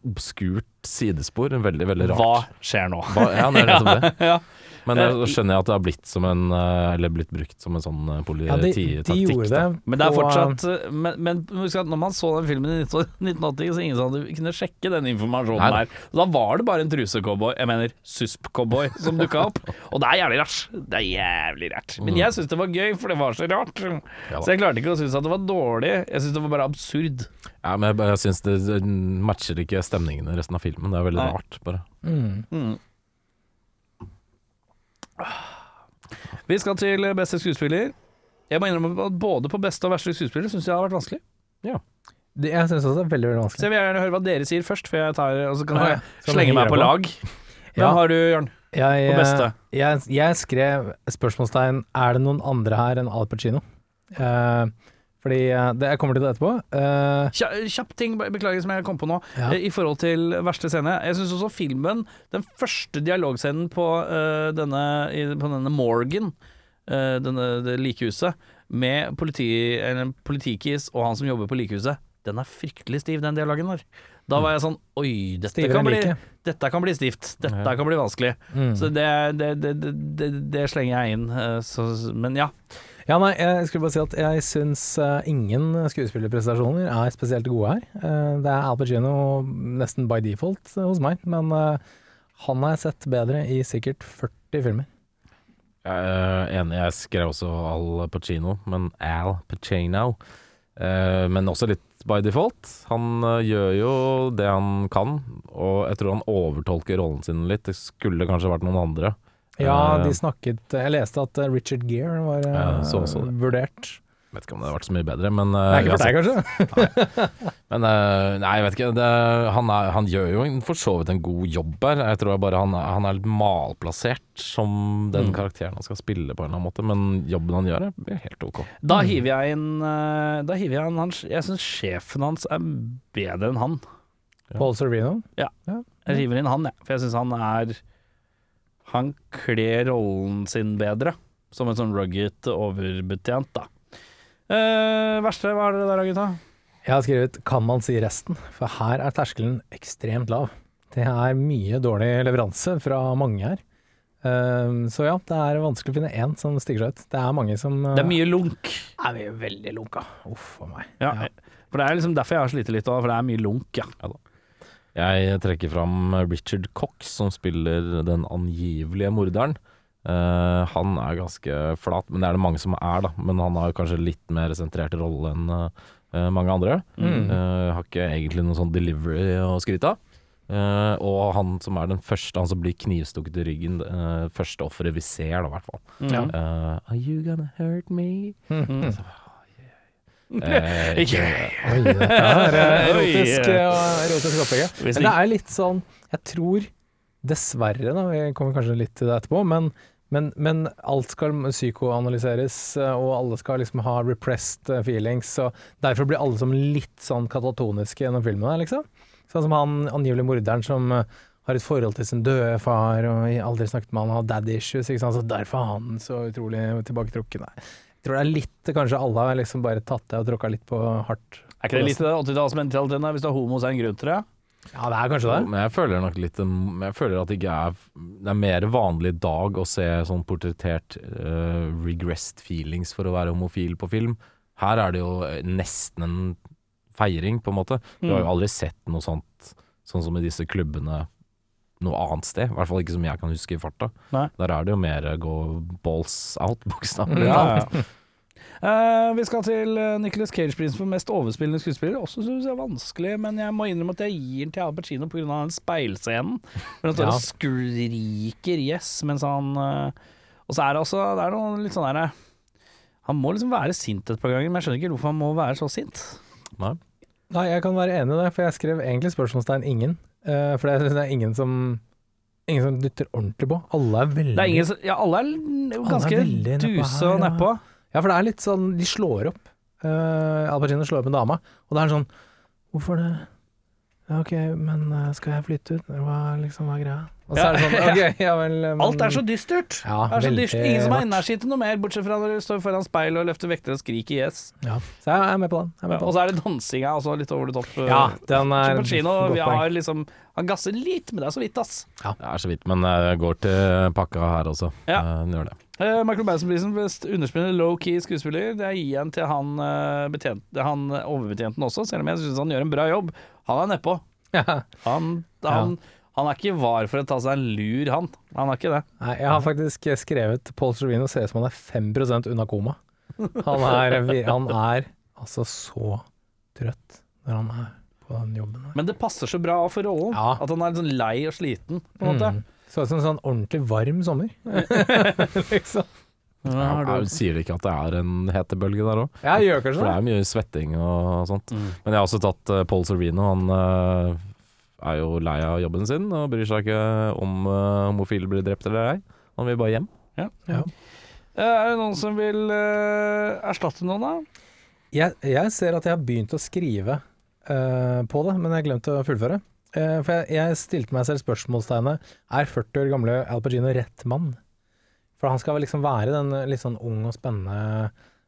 obskurt sidespor. Veldig, veldig rart. Hva skjer nå? Hva? Ja, det er nettopp det. ja. Men Eh, da skjønner jeg at det har blitt som en eh, Eller blitt brukt som en sånn eh, Ja, de, polititaktikk. de gjorde det. da. Men det er på, eh, fortsatt Men, men husk at når man så den filmen i 19- 1980, så ingen sa du kunne sjekke den informasjonen Nei. der. Da var det bare en trusecowboy, jeg mener susp-cowboy, som dukka opp. Og det er jævlig rart. Det er jævlig rart. Men jeg syns det var gøy, for det var så rart. Så jeg klarte ikke å synes at det var dårlig. Jeg syns det var bare absurd. Ja, men jeg, bare- jeg syns det det matcher ikke stemningen i resten av filmen. Det er veldig Nei. rart, bare. Vi skal til beste skuespiller. Jeg må innrømme at både på beste og verste skuespiller syns jeg har vært vanskelig. de- Jeg syns også det er veldig veldig Så vanskelig. jeg vil gjerne høre hva dere sier først, før jeg tar Og så kan Ja, jeg ja. Så slenge vi meg gir på deg på. lag. Hvem Ja. har du, Jørn? Jeg, På beste. Jeg, jeg skrev spørsmålstegn Er det noen andre her enn Al Pacino. Eh, fordi eh, det, Jeg kommer til det etterpå. Eh, Kja- Kjapp ting, be- beklager som jeg kom på nå, Ja. eh, i forhold til verste scene. Jeg syns også filmen, den første dialogscenen på, eh, denne, i, på denne Morgan, eh, denne, det likehuset, med politi, eller en politikis og han som jobber på likehuset, den er fryktelig stiv, den dialogen der. Da var jeg sånn Oi, dette, Stivere kan enn bli, like. Mm. dette kan bli stivt. Dette kan bli vanskelig. Så det, det, det, det, det, det slenger jeg inn. eh, Så, men ja. Ja, nei, jeg skulle bare si at jeg syns eh, ingen skuespillerprestasjoner er spesielt gode her. Eh, det er Al Pacino nesten by default eh, hos meg, men eh, han har jeg sett bedre i sikkert 40 filmer. Jeg er Eh, enig, jeg skrev også Al Pacino, men Al Pacino. Eh, Men også litt by default. Han eh, gjør jo det han kan, og jeg tror han overtolker rollen sin litt. Det skulle kanskje vært noen andre. Ja, Eh, de snakket Jeg leste at eh, Richard Gere var eh, Ja, så også det. vurdert. Vet ikke om det hadde vært så mye bedre, men Det eh, er ikke for uansett. deg, kanskje? Men eh, nei, jeg vet ikke. Det, han, er, han gjør jo en- for så vidt en god jobb her. Jeg tror bare han, er- han er litt malplassert som den Mm. karakteren han skal spille på en eller annen måte, men jobben han gjør er helt ok. Da Mm. hiver jeg inn eh, Da hiver jeg inn han Jeg syns sjefen hans er bedre enn han. Paul Sorvino. Jeg river inn han, jeg. For jeg syns han er Han kler rollen sin bedre. Som en sånn rugged overbetjent, da. Eh, verste, hva er det der, gutta? Jeg har skrevet 'kan man si resten', for her er terskelen ekstremt lav. Det er mye dårlig leveranse fra mange her. Ehm, så ja, det er vanskelig å finne én som stikker seg ut. Det er mange som eh, Det er mye lunk. er mye veldig lunka. Uff a meg. Ja. For det er liksom derfor jeg har slitt litt, da, for det er mye lunk, ja. Jeg trekker fram Richard Cox, som spiller den angivelige morderen. Eh, han er ganske flat, men det er det mange som er, da. Men han har kanskje litt mer sentrert rolle enn eh, mange andre. Eh, har ikke egentlig noen sånn delivery å skryte av. Eh, og han som er den første, han som blir knivstukket i ryggen, eh, første offeret vi ser, da, i hvert fall. Ja. Eh, Are you gonna hurt me? Eh, Oi, dette er eh, Oi. erotisk, eh, og erotisk opplegg. Hvis Men det er litt sånn Jeg tror dessverre, da, vi kommer kanskje litt til det etterpå, men, men, men alt skal psykoanalyseres, eh, og alle skal liksom ha repressed eh, feelings, og derfor blir alle som litt sånn katatoniske gjennom filmen her, liksom. Sånn som han angivelig morderen som eh, har et forhold til sin døde far, og i- aldri snakket med han, har daddy issues, ikke sant, så derfor er han så utrolig tilbaketrukken. Nei. Jeg tror det er litt kanskje alle har liksom bare tatt det og tråkka litt på hardt. Er ikke det litt i det 80-tallsmentaliteten? da? Hvis du er homo, så er det en grunn til det. Ja, det er kanskje det. Men jeg føler nok litt Jeg føler at det ikke er Det er mer vanlig i dag å se sånn portrettert eh, regressed feelings for å være homofil på film. Her er det jo eh, nesten en feiring, på en måte. Du har jo Mm. aldri sett noe sånt sånn som i disse klubbene noe annet sted. I hvert fall ikke som jeg kan huske i farta. Nei. Der er det jo mer eh, go balls out, bokstavelig Ja, talt. ja. Mm. Eh, vi skal til eh, Nicolas Cage-prisen for mest overspillende skuespiller. Også synes jeg er vanskelig, men jeg må innrømme at jeg gir den til Al Pacino pga. den speilscenen. Hvor han står Ja. og skriker 'yes' mens han eh, Og så er det også det er noe litt sånn derre Han må liksom være sint et par ganger, men jeg skjønner ikke hvorfor han må være så sint. Nei. Nei, jeg kan være enig i det, for jeg skrev egentlig spørsmålstegn ingen. Eh, for jeg synes det er ingen som Ingen som dytter ordentlig på. Alle er veldig Det er ingen, som- ja, alle er l- ganske veldig nedpå duse her, og ja. nedpå. Ja, for det er litt sånn De slår opp. Eh, Al Pacino slår opp en dame, og det er sånn Hvorfor det? Ja, ok, men eh, skal jeg flytte ut? Hva, liksom, hva er greia? Og så er det sånn, ok, ja vel men, Alt er så dystert. Mm. Ja, det er så veldig dystert. Ingen som har mørkt. energi til noe mer, bortsett fra når du står foran speilet og løfter vekter og skriker yes. ja. Så jeg er med på den. Jeg er Ja, altså, og med på den. så er det dansinga også litt over the top. Ja, den er Chino, godt vi poeng. har liksom Han gasser litt, men det er så vidt, ass. Det er så vidt, men jeg går til eh, pakka her også. Ja. Eh, den gjør det. Eh, Michael Madsen-prisen best underspillende low-key skuespiller. Det er gi en til han, eh, betjent, han eh, overbetjenten også, selv om jeg syns han gjør en bra jobb. Han er nedpå. Ja. Han, han, han er ikke var for å ta seg en lur, han. Han er ikke det. Nei, jeg har faktisk skrevet Paul Sorvino ser ut som han er 5 unna koma. Han er, han er altså så trøtt når han er på den jobben. her. Men det passer så bra for rollen. Ja. At han er litt sånn lei og sliten, på en måte. Mm. Så ut som en sånn ordentlig varm sommer. liksom. Jeg, jeg sier ikke at det er en hetebølge der òg, Jeg gjør for kanskje det det. er mye svetting og sånt. Men jeg har også tatt eh, Paul Sorvino. Han eh, er jo lei av jobben sin og bryr seg ikke om eh, homofile blir drept eller ei. Han vil bare hjem. Eh, Er det noen som vil eh, erstatte noen, da? Jeg, jeg ser at jeg har begynt å skrive eh, på det, men jeg glemte å fullføre. Eh, for jeg, jeg stilte meg selv spørsmålstegnet Er 40 år gamle Al Pacino rett mann? For han skal vel liksom være den eh, litt sånn ung og spennende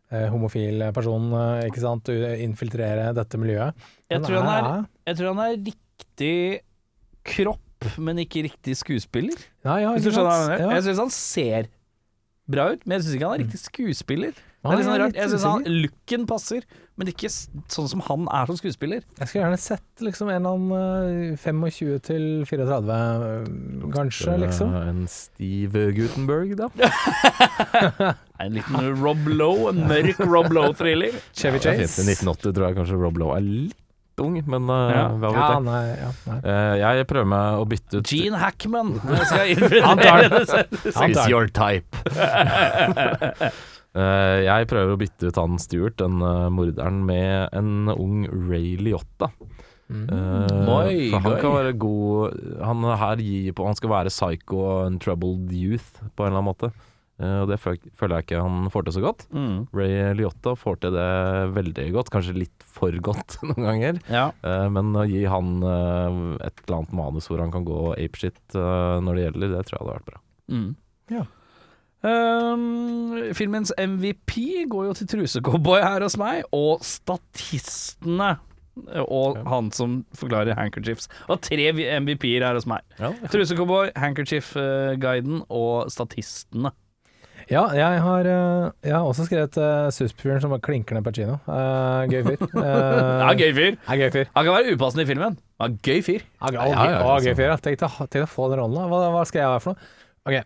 eh, homofil personen, eh, ikke sant? Du infiltrere dette miljøet. Jeg Men tror han er, nei, jeg tror han er riktig kropp, men ikke riktig skuespiller. Nei, ja, Hvis du ikke skjønner hva jeg sant? mener. Ja. Jeg syns han ser bra ut, men jeg syns ikke han er riktig skuespiller. Det Nei, er litt sånn jeg er rart. litt Jeg syns han usikker. looken passer, men ikke s- sånn som han er som skuespiller. Jeg skulle gjerne sett liksom en eller annen eh, 25 til 34, eh, kanskje, liksom. Eh, En Steve Gutenberg, da. En liten Rob Lowe, en mørk Rob Lowe-thriller. Chevy Det er fint. I Chase. 1980 tror jeg kanskje Rob Lowe er litt ung, men eh, Ja. hva vet Ja, jeg. nei, ja, nei. Eh, jeg prøver meg å bytte ut Gene Hackman. Jeg skal Han tar infiltrere det. Is your type. Eh, jeg prøver å bytte ut han Stuart, den eh, morderen, med en ung Ray Liotta. Mm. Eh, Moi, for han goi. kan være god Han her gir på Han skal være psycho og en troubled youth på en eller annen måte. Eh, og det fø- føler jeg ikke han får til så godt. Mm. Ray Liotta får til det veldig godt, kanskje litt for godt noen ganger. Ja. Eh, men å gi han eh, et eller annet manus hvor han kan gå apeshit eh, når det gjelder, det tror jeg hadde vært bra. Mm. Ja. Ehm, filmens MVP går jo til trusecowboy her hos meg, og statistene. Og han som forklarer handkerchiefs. Og tre MVP-er her hos meg. Trusecowboy, handkerchief-guiden og statistene. Ja, jeg har, eh, jeg har også skrevet uh, Suspfyren som bare klinker ned Pacino. Eh, gøy fyr. Ja, Uh, gøy fyr. Er gøy fyr. Han kan være upassende i filmen. Ja, gøy fyr. Er gøy- Ja, ja, ja, å, gøy liksom. fyr, ja. Tenk til, å ha- tenk til å få den rollen, da. Hva, hva skal jeg være for noe? Ok,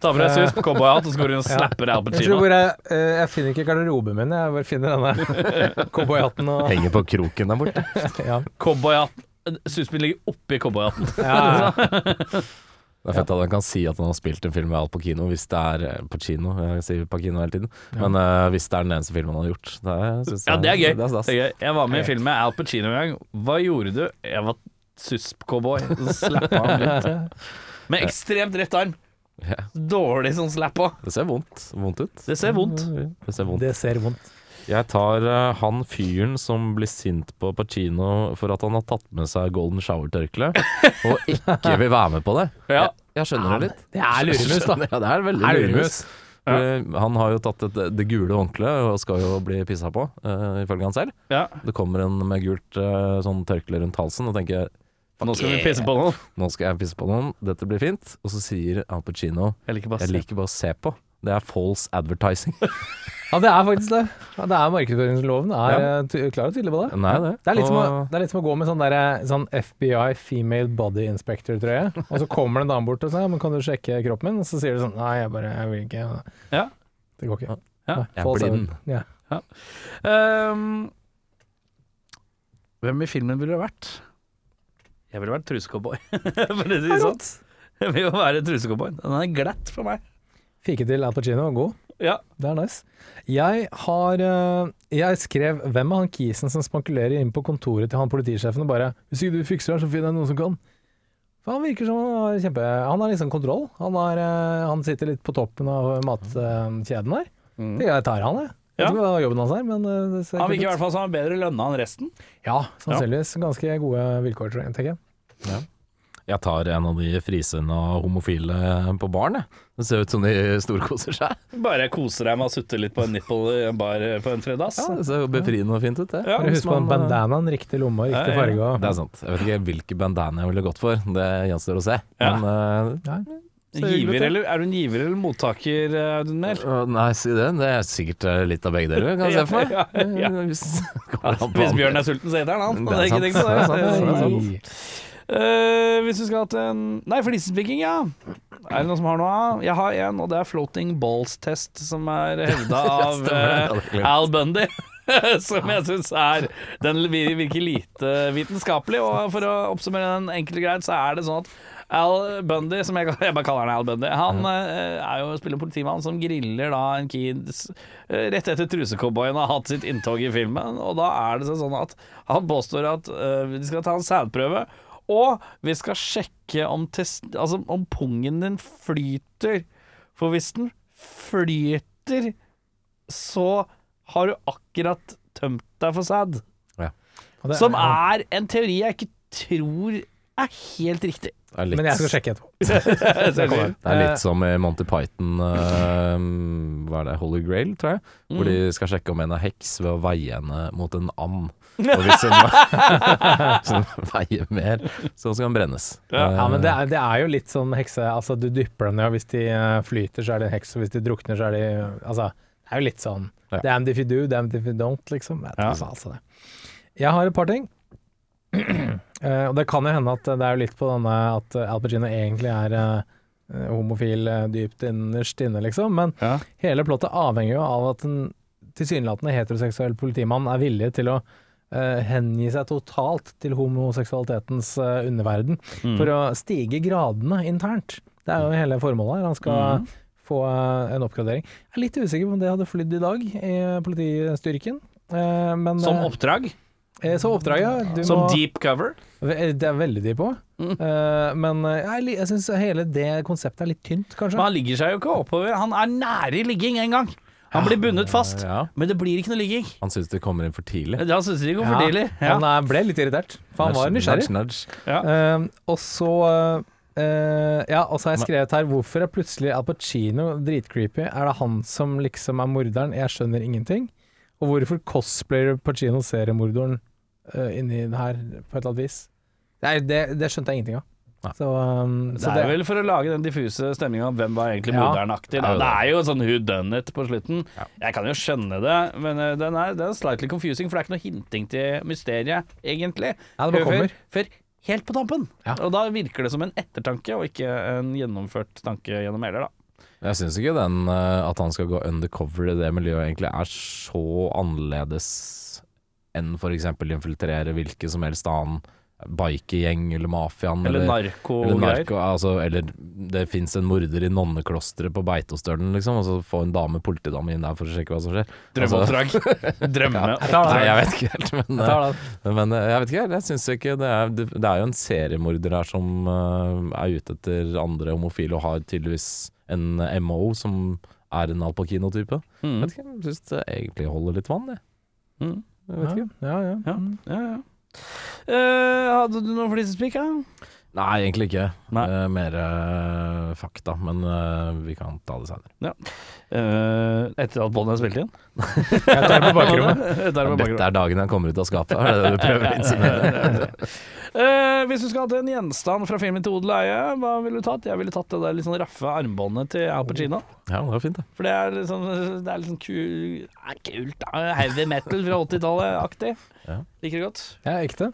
Ta på deg susp, cowboyhatt, og så går du inn og snapper Al jeg Pacino. tror bare eh, Jeg finner ikke garderoben min, jeg bare finner denne cowboyhatten og Henger på kroken der borte. ja. Cowboyhatt. Suspen ligger oppi cowboyhatten. Ja, Det er fett at han kan si at han har spilt en film med Al Pacino, hvis det er eh, Pacino, jeg sier Pacino hele tiden, men eh, hvis det er den eneste filmen han har gjort. Det er, synes Ja, jeg- det er gøy. Det er stas. Det er gøy. Jeg var med i film med Al Pacino en gang. Hva gjorde du? Jeg var susp-cowboy. Så slappa han litt. Med ekstremt rett arm. Ja. Dårlig sånn slappa. Det ser vondt, vondt ut. Det ser vondt. Det ser vondt. det ser vondt. Jeg tar eh, han fyren som blir sint på Pacino for at han har tatt med seg golden shower-tørkle, og ikke vil være med på det. Ja. Jeg, jeg skjønner det litt. Det er luremus, da. Ja, det er veldig Er det luremus. Eh, Han har jo tatt det, det gule håndkleet og skal jo bli pissa på, eh, ifølge han selv. ja. Det kommer en med gult eh, sånn tørkle rundt halsen og tenker Nå skal vi pisse på noen. Nå skal jeg pisse på noen, dette blir fint. Og så sier Al Pacino Jeg liker bare å Jeg se. liker bare å se på. Det er false advertising. Ja, det er faktisk det. Ja, det er markedsføringsloven. Er Ja. eh, ty- klar og tydelig på det. Nei, det. Det er litt som å, Og- det er litt som å gå med sånn, derre- sånn FBI Female Body Inspector-trøye, og så kommer det en dame bort og sier «Ja, men 'kan du sjekke kroppen min?' Og så sier du sånn 'nei, jeg bare jeg vil ikke'. Ja. Det går ikke. Ja. Nei, Jeg er false blind. advert- Ja. Ehm, hvem i filmen ville du vært? Jeg ville vært trusecowboy. For å si det sånn. Jeg vil jo være trusecowboy. Den er glatt for meg. Fike til Al Pacino, god. Ja. Det er nice. Jeg har eh, Jeg skrev 'Hvem er han kisen som spankulerer inn på kontoret til han politisjefen?' og bare 'Hvis ikke du fikser det, så finner jeg noen som kan'. For han virker som han har kjempe Han har liksom kontroll. Han, har, eh, han sitter litt på toppen av matkjeden der. Mm. Jeg tar han, jeg. Jeg Ja. vet ikke hva jobben hans er, men eh, det ser Han kult virker i ut. hvert fall som han er bedre lønna enn resten. Ja, sannsynligvis ganske gode vilkår, tror jeg, tenker jeg. Jeg tar en av de frisinna homofile på baren, jeg. Det ser ut som de storkoser seg. Bare koser deg med å sutte litt på en nipple i en bar på en fredags. Ja, det ser jo befriende og fint ut, det. Ja, Bare husk på man, den bandanaen, riktig lomme og eh, Ja, riktig ja. farge. og- Det er sant. Jeg vet ikke hvilke bandana jeg ville gått for, det gjenstår å se. Ja. Men eh, sånn, Giver eller, er du en giver eller mottaker, eh, Audun Mehl? Øh, Nei, si det. Det er sikkert eh, litt av begge deler, kan jeg se for meg. Ja, ja, Eh, Hvis, Hvis Bjørn er sulten, så heter han han. Det er Det er ikke sant, tenkt på det er det. sant, det er sant. Nei. Eh, hvis du skal ha til en Nei, flisespikking, ja. Er det noen som har noe? Jeg har en, og det er floating balls test, som er hevda av stemmer, det hadde jeg eh, glemt. Al Bundy. som jeg syns er Den vir- virker lite vitenskapelig, og for å oppsummere den enkelt og greit, så er det sånn at Al Bundy, som jeg, jeg bare kaller han Al Bundy, han eh, er jo spiller politimann som griller da en kid s- eh, rett etter trusecowboyen har hatt sitt inntog i filmen, og da er det sånn at han påstår at eh, de skal ta en sædprøve, og vi skal sjekke om, test, altså om pungen din flyter. For hvis den flyter, så har du akkurat tømt deg for sæd. Og det Som er- er en teori jeg ikke tror er helt riktig. det er litt, Men jeg skal sjekke etterpå. Det Eh. er litt som i Monty Python eh, Hva er det? Holy Grail, tror jeg. Hvor de Mm. skal sjekke om en er heks ved å veie henne mot en and. Og hvis hun, hvis hun veier mer, så skal hun brennes. Eh, Ja, men det er, det er jo litt sånn hekse... Altså, du dypper dem ned, og hvis de eh, flyter, så er det en heks, og hvis de drukner, så er de Altså, det er jo litt sånn Ja. Damned if you do, damned if you don't, liksom. Jeg, Ja. tror faen altså det. jeg har et par ting. Eh, og det kan jo hende at det er jo litt på denne at eh, Al Pacino egentlig er eh, homofil eh, dypt innerst inne, liksom. Men Ja. hele plottet avhenger jo av at en tilsynelatende heteroseksuell politimann er villig til å eh, hengi seg totalt til homoseksualitetens eh, underverden Mm. for å stige gradene internt. Det er jo hele formålet her. Han skal Mm. få eh, en oppgradering. Jeg er litt usikker på om det hadde flydd i dag i eh, politistyrken. eh, men, Som eh, oppdrag? eh, som oppdrag, ja. Du Som Mm. må- deep cover? Ve- Det er veldig de på. Eh, men eh, jeg, er li- jeg syns hele det konseptet er litt tynt, kanskje. Men han ligger seg jo ikke oppover. Han er nære ligging en gang. Han blir bundet fast, Ja. men det blir ikke noe ligging. Han syns de kommer inn for tidlig. Han synes det går for tidlig. Ja. Han er, ble litt irritert, for han var nysgjerrig. Nudge, nudge. Eh, og så eh, eh, Ja, og så har jeg skrevet her Hvorfor er plutselig Al Pacino dritcreepy? Er det han som liksom er morderen? Jeg skjønner ingenting. Og hvorfor cosplayer Pacino seriemorderen eh, inni det her, på et eller annet vis? Nei, det, det skjønte jeg ingenting av. Nei. Så, eh, Det så er vel for å lage den diffuse stemninga om hvem var egentlig Ja. modernaktig. Det er da. jo Det det. er jo sånn who done it på slutten. Ja. Jeg kan jo skjønne det, men eh, den er, den er slightly confusing, for det er ikke noe hinting til mysteriet, egentlig. Ja, det bare Før- kommer. Før helt på tampen. Ja. Og da virker det som en ettertanke, og ikke en gjennomført tanke gjennom hele, da. Jeg syns ikke den eh, at han skal gå undercover i det miljøet egentlig er så annerledes enn f.eks. infiltrere hvilken som helst annen bikergjeng eller mafiaen. Eller eller, narkogreier. narko, altså, eller det fins en morder i nonneklosteret på Beitostølen, liksom, og så få en dame, politidame inn der for å sjekke hva som skjer. Altså, Drømmeoppdrag. Drømmeoppdrag. Nei, jeg vet ikke helt, men, Jeg tar det. eh, men eh, jeg vet ikke helt. Jeg syns ikke det er, det, det er jo en seriemorder her som eh, er ute etter andre homofile, og har tydeligvis en MO som er en Al Pacino-type. Mm. Vet ikke, jeg syns det egentlig holder litt vann, jeg. Mm. jeg vet ikke. Ja, ja, ja. Ja, ja, ja. Eh, hadde du noe flisespikk, da? Nei, egentlig ikke. Nei. Eh, mer eh, fakta, men eh, vi kan ta det senere. Eh, etter at båndet er spilt inn? Jeg tar det på bakrommet. Jeg tar det på bakrommet. Dette er dagen han kommer ut av skapet, er det det du prøver å insinuere? Eh, hvis du skal ha til en gjenstand fra filmen til Odel og eie, hva ville du tatt? Jeg ville tatt det der litt sånn raffe armbåndet til Al Pacino. Ja, det var fint, det. For det er litt sånn, det er litt sånn ku, ja, kult. da. Heavy metal fra 80-tallet-aktig. Ja. Liker det godt. Ja, ekte.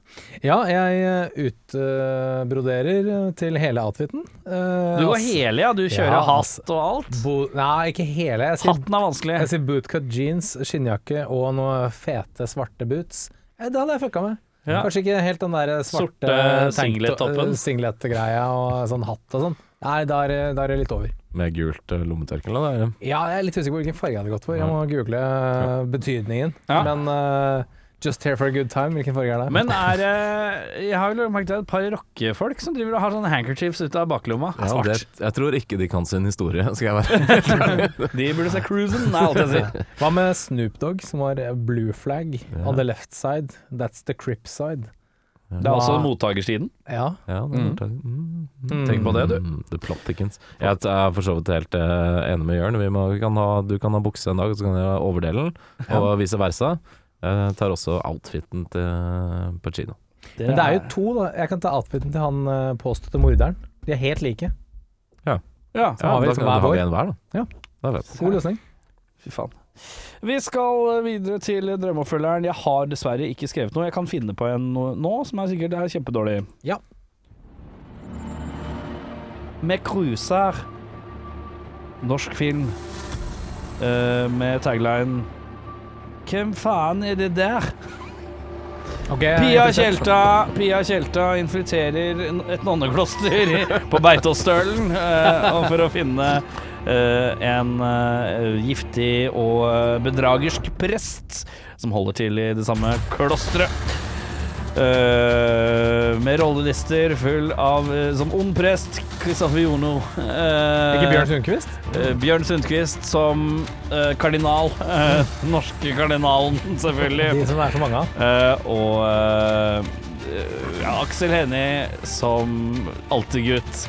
Ja, jeg eh, utbroderer til hele outfiten. Eh, Du går ass- hele, ja. Du kjører Ja, ass. hatt og alt. Bo nei, ikke hele. Jeg sier, Hatten er vanskelig. jeg sier bootcut jeans, skinnjakke og noen fete, svarte boots. Eh, Det hadde jeg fucka med. Ja. Kanskje ikke helt den der Sorte svarte tank- singlet-toppen. eh, singlet-greia og sånn hatt og sånn. Nei, da er, det- da er det litt over. Med gult eh, lommetørkle, da. eller? Ja, jeg er litt usikker på hvilken farge jeg hadde gått for. Jeg må google eh, betydningen. Ja. Men eh, Just here for a good time, hvilken farge er det? Men er det Jeg har jo merket et par rockefolk som driver og har sånne handkerchiefs ut av baklomma. Ja, Svart. det, jeg tror ikke de kan sin historie, skal jeg være De burde se cruisen, er alt jeg sier. Hva med Snoop Dogg, som var blue flag on the left side, that's the crip side. Det er også mottakersiden. Ja. Ja, det er klart. Mm. Tenk på det, du. Mm, The plot thickens. Jeg er for så vidt helt eh, enig med Jørn. Vi må, kan ha, du kan ha bukse en dag, og så kan jeg ha overdelen, og vice versa. Jeg tar også outfiten til eh, Pacino. Men det er jo to, da. Jeg kan ta outfiten til han eh, påståtte morderen. De er helt like. ja. Så har vi da liksom hver kan- da har vår. vi en hver, da. Ja. Det er fett. God løsning. Fy faen. Vi skal videre til drømmeoppfølgeren. Jeg har dessverre ikke skrevet noe. Jeg kan finne på en no- nå, som er sikkert er kjempedårlig. Ja. Med cruiser. Norsk film. Eh, med tagline Hvem faen er det der? Pia Tjelta, Pia Tjelta infiltrerer n- et nonnekloster i- på Beitostølen eh, og for å finne eh, en eh, giftig og eh, bedragersk prest som holder til i det samme klosteret. Eh, med rollelister full av eh, som ond prest Kristoffer Jono. eh, Ikke Bjørn Sundquist? Eh, Bjørn Sundquist som eh, kardinal. eh, norske kardinalen, selvfølgelig. De som det er så mange av. Eh, og eh, ja, Aksel Hennie som alltid-gutt.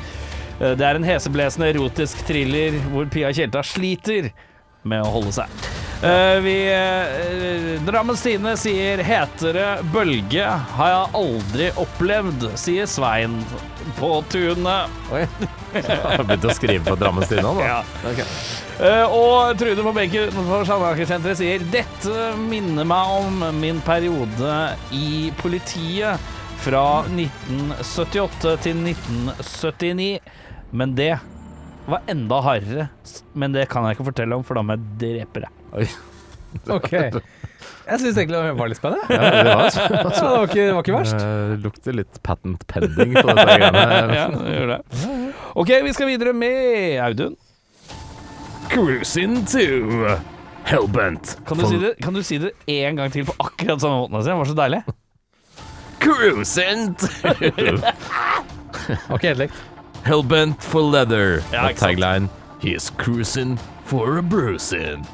Eh, det er en heseblesende erotisk thriller hvor Pia Tjelta sliter med å holde seg. Eh, vi eh, Drammens Tine sier 'hetere bølge har jeg aldri opplevd', sier Svein på tunet. Jeg har begynt å skrive på Drammens Tidende nå. Ja. Eh, og Trude på benken utenfor Sandaker-senteret sier Dette minner meg om min periode i politiet fra 1978 til 1979. Men det var enda hardere. S- Men det kan jeg ikke fortelle om, for da må jeg drepe deg. Ok. Jeg syns egentlig det var litt spennende. Ja, det var, Ja, det, var ikke, det var ikke verst. Eh, lukter litt patent pending på dette greiene. Ja, det gjør det. OK, vi skal videre med Audun. Cruising to Hellbent. Kan du si det, kan du si det en gang til på akkurat samme måten? Asia? Det var så deilig. Cruising to Ok, helt likt. Hellbent for leather. Ja, Ja, ikke sant. tagline He is cruising for a bruising.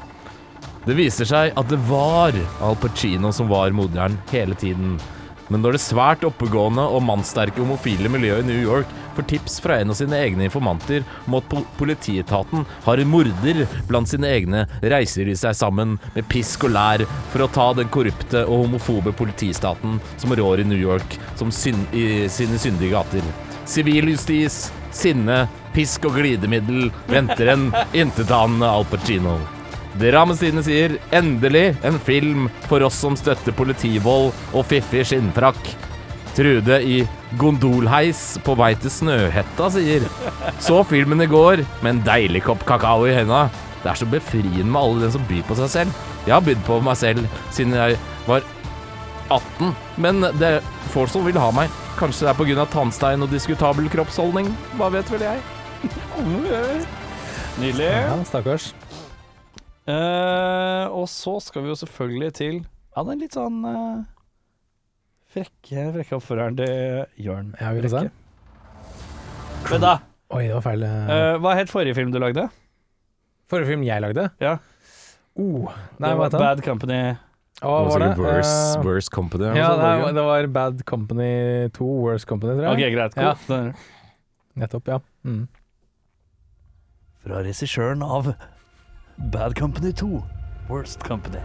Det viser seg at det var Al Pacino som var moderen hele tiden. Men når det svært oppegående og mannssterke homofile miljøet i New York får tips fra en av sine egne informanter om at po- politietaten har en morder blant sine egne, reiser de seg sammen med pisk og lær for å ta den korrupte og homofobe politistaten som rår i New York som syn i sine syndige gater. Sivil justis, sinne, pisk og glidemiddel venter en intetanende Al Pacino. Drammens Tidende sier endelig en film for oss som støtter politivold og fiffig skinnfrakk. Trude i gondolheis på vei til Snøhetta sier Så filmen i går med en deilig kopp kakao i henda. Det er så befriende med alle den som byr på seg selv. Jeg har bydd på meg selv siden jeg var 18, men det er folk som vil ha meg. Kanskje det er pga. tannstein og diskutabel kroppsholdning. Hva vet vel jeg? Nydelig. Ja, stakkars. Eh, og så skal vi jo selvfølgelig til Ja, den litt sånn eh, frekke, frekke oppføreren til Jørn. Ja, vi får se. Brekke. Men da, Oi, det var feil. eh. eh, hva het forrige film du lagde? Forrige film jeg lagde? Ja. Oh, nei, det hva var het den? Bad Company. Hva var det? Worse, Eh, worse Company. ja, altså, nei, Norge. det var Bad Company 2, Worse Company, tror Ok, jeg. greit. Ja. Cool. Den- Nettopp, ja. Mm. Fra regissøren av Bad Company 2, Worst Company.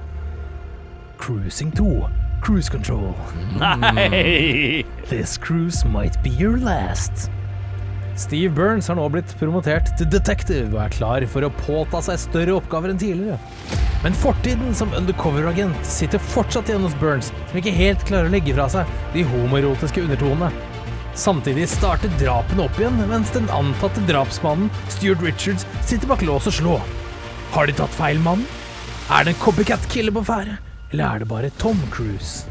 Cruising 2, Cruise Control. Nei! This cruise might be your last. Steve Burns har nå blitt promotert til detektiv og er klar for å påta seg større oppgaver enn tidligere. Men fortiden som undercover-agent sitter fortsatt igjen hos Burns, som ikke helt klarer å legge fra seg de homoerotiske undertonene. Samtidig starter drapene opp igjen, mens den antatte drapsmannen, Stuart Richards, sitter bak lås og slå. Har de tatt feil mann? Er det en copycat-killer på ferde? Eller er det bare Tom Cruise?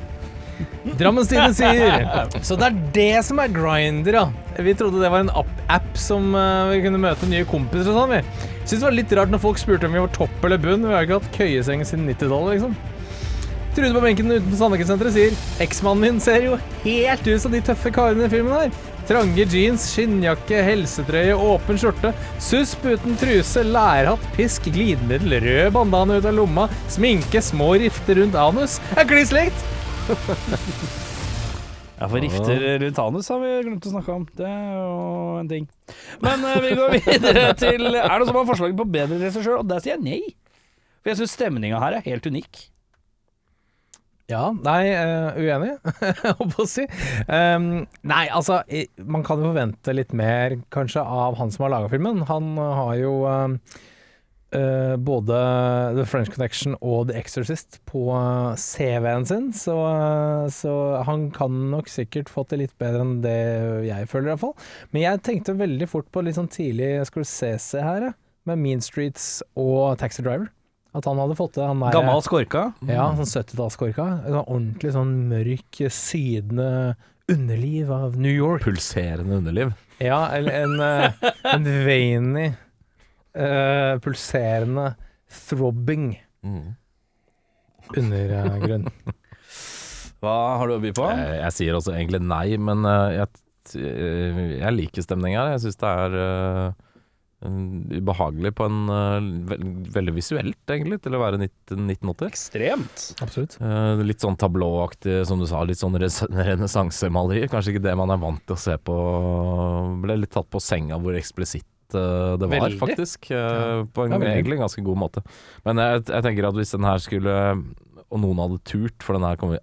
Drammens Tidende sier Så det er det som er Grindr, ja. Vi trodde det var en app, app som eh, vi kunne møte nye kompiser og sånn, vi. Syns det var litt rart når folk spurte om vi var topp eller bunn. Vi har jo ikke hatt køyeseng siden 90-tallet, liksom. Trude på benken utenfor Sandaker-senteret sier eksmannen min ser jo helt ut som de tøffe karene i filmen her. Trange jeans, skinnjakke, helsetrøye, åpen skjorte, susp uten truse, lærhatt, pisk, glidemiddel, rød bandane ut av lomma, sminke, små rifter rundt anus. Er kliss likt! Ja, for rifter rundt anus har vi glemt å snakke om. Det er jo en ting. Men eh, vi går videre til Er det noen som har forslag på bedre regissør? Og der sier jeg nei. For jeg syns stemninga her er helt unik. Ja, nei, eh, uenig, holdt på å si. Ehm, nei, altså, i- man kan jo forvente litt mer kanskje av han som har laga filmen. Han har jo ehm, eh, eh, både The French Connection og The Exorcist på eh, CV-en sin, så, eh, så han kan nok sikkert fått det litt bedre enn det jeg føler, iallfall. Men jeg tenkte veldig fort på litt sånn tidlig Scorsese her, jeg, med Mean Streets og Taxi Driver. At han hadde fått det. Han der- Gammal skorka. ja, sånn 70-tallskorka. En Sånn ordentlig sånn mørk, sydende underliv av New York. Pulserende underliv. Ja, eller en, eh, en veiny, eh, pulserende, throbbing Mm. undergrunn. Hva har du å by på? Jeg, jeg sier også egentlig nei, men eh, jeg, t- eh, jeg liker stemninga her. Jeg syns det er eh, en- ubehagelig på en eh, vel- veldig visuelt, egentlig, til å være 19, 1980. Ekstremt. Absolutt. Eh, litt sånn tablåaktig, som du sa, litt sånn res- renessansemalerier. Kanskje ikke det man er vant til å se på. Ble litt tatt på senga hvor eksplisitt eh, det var, Veldig. faktisk. eh, På en Ja, veldig. egentlig ganske god måte. Men jeg, jeg tenker at hvis den her skulle Og noen hadde turt, for den her kommer-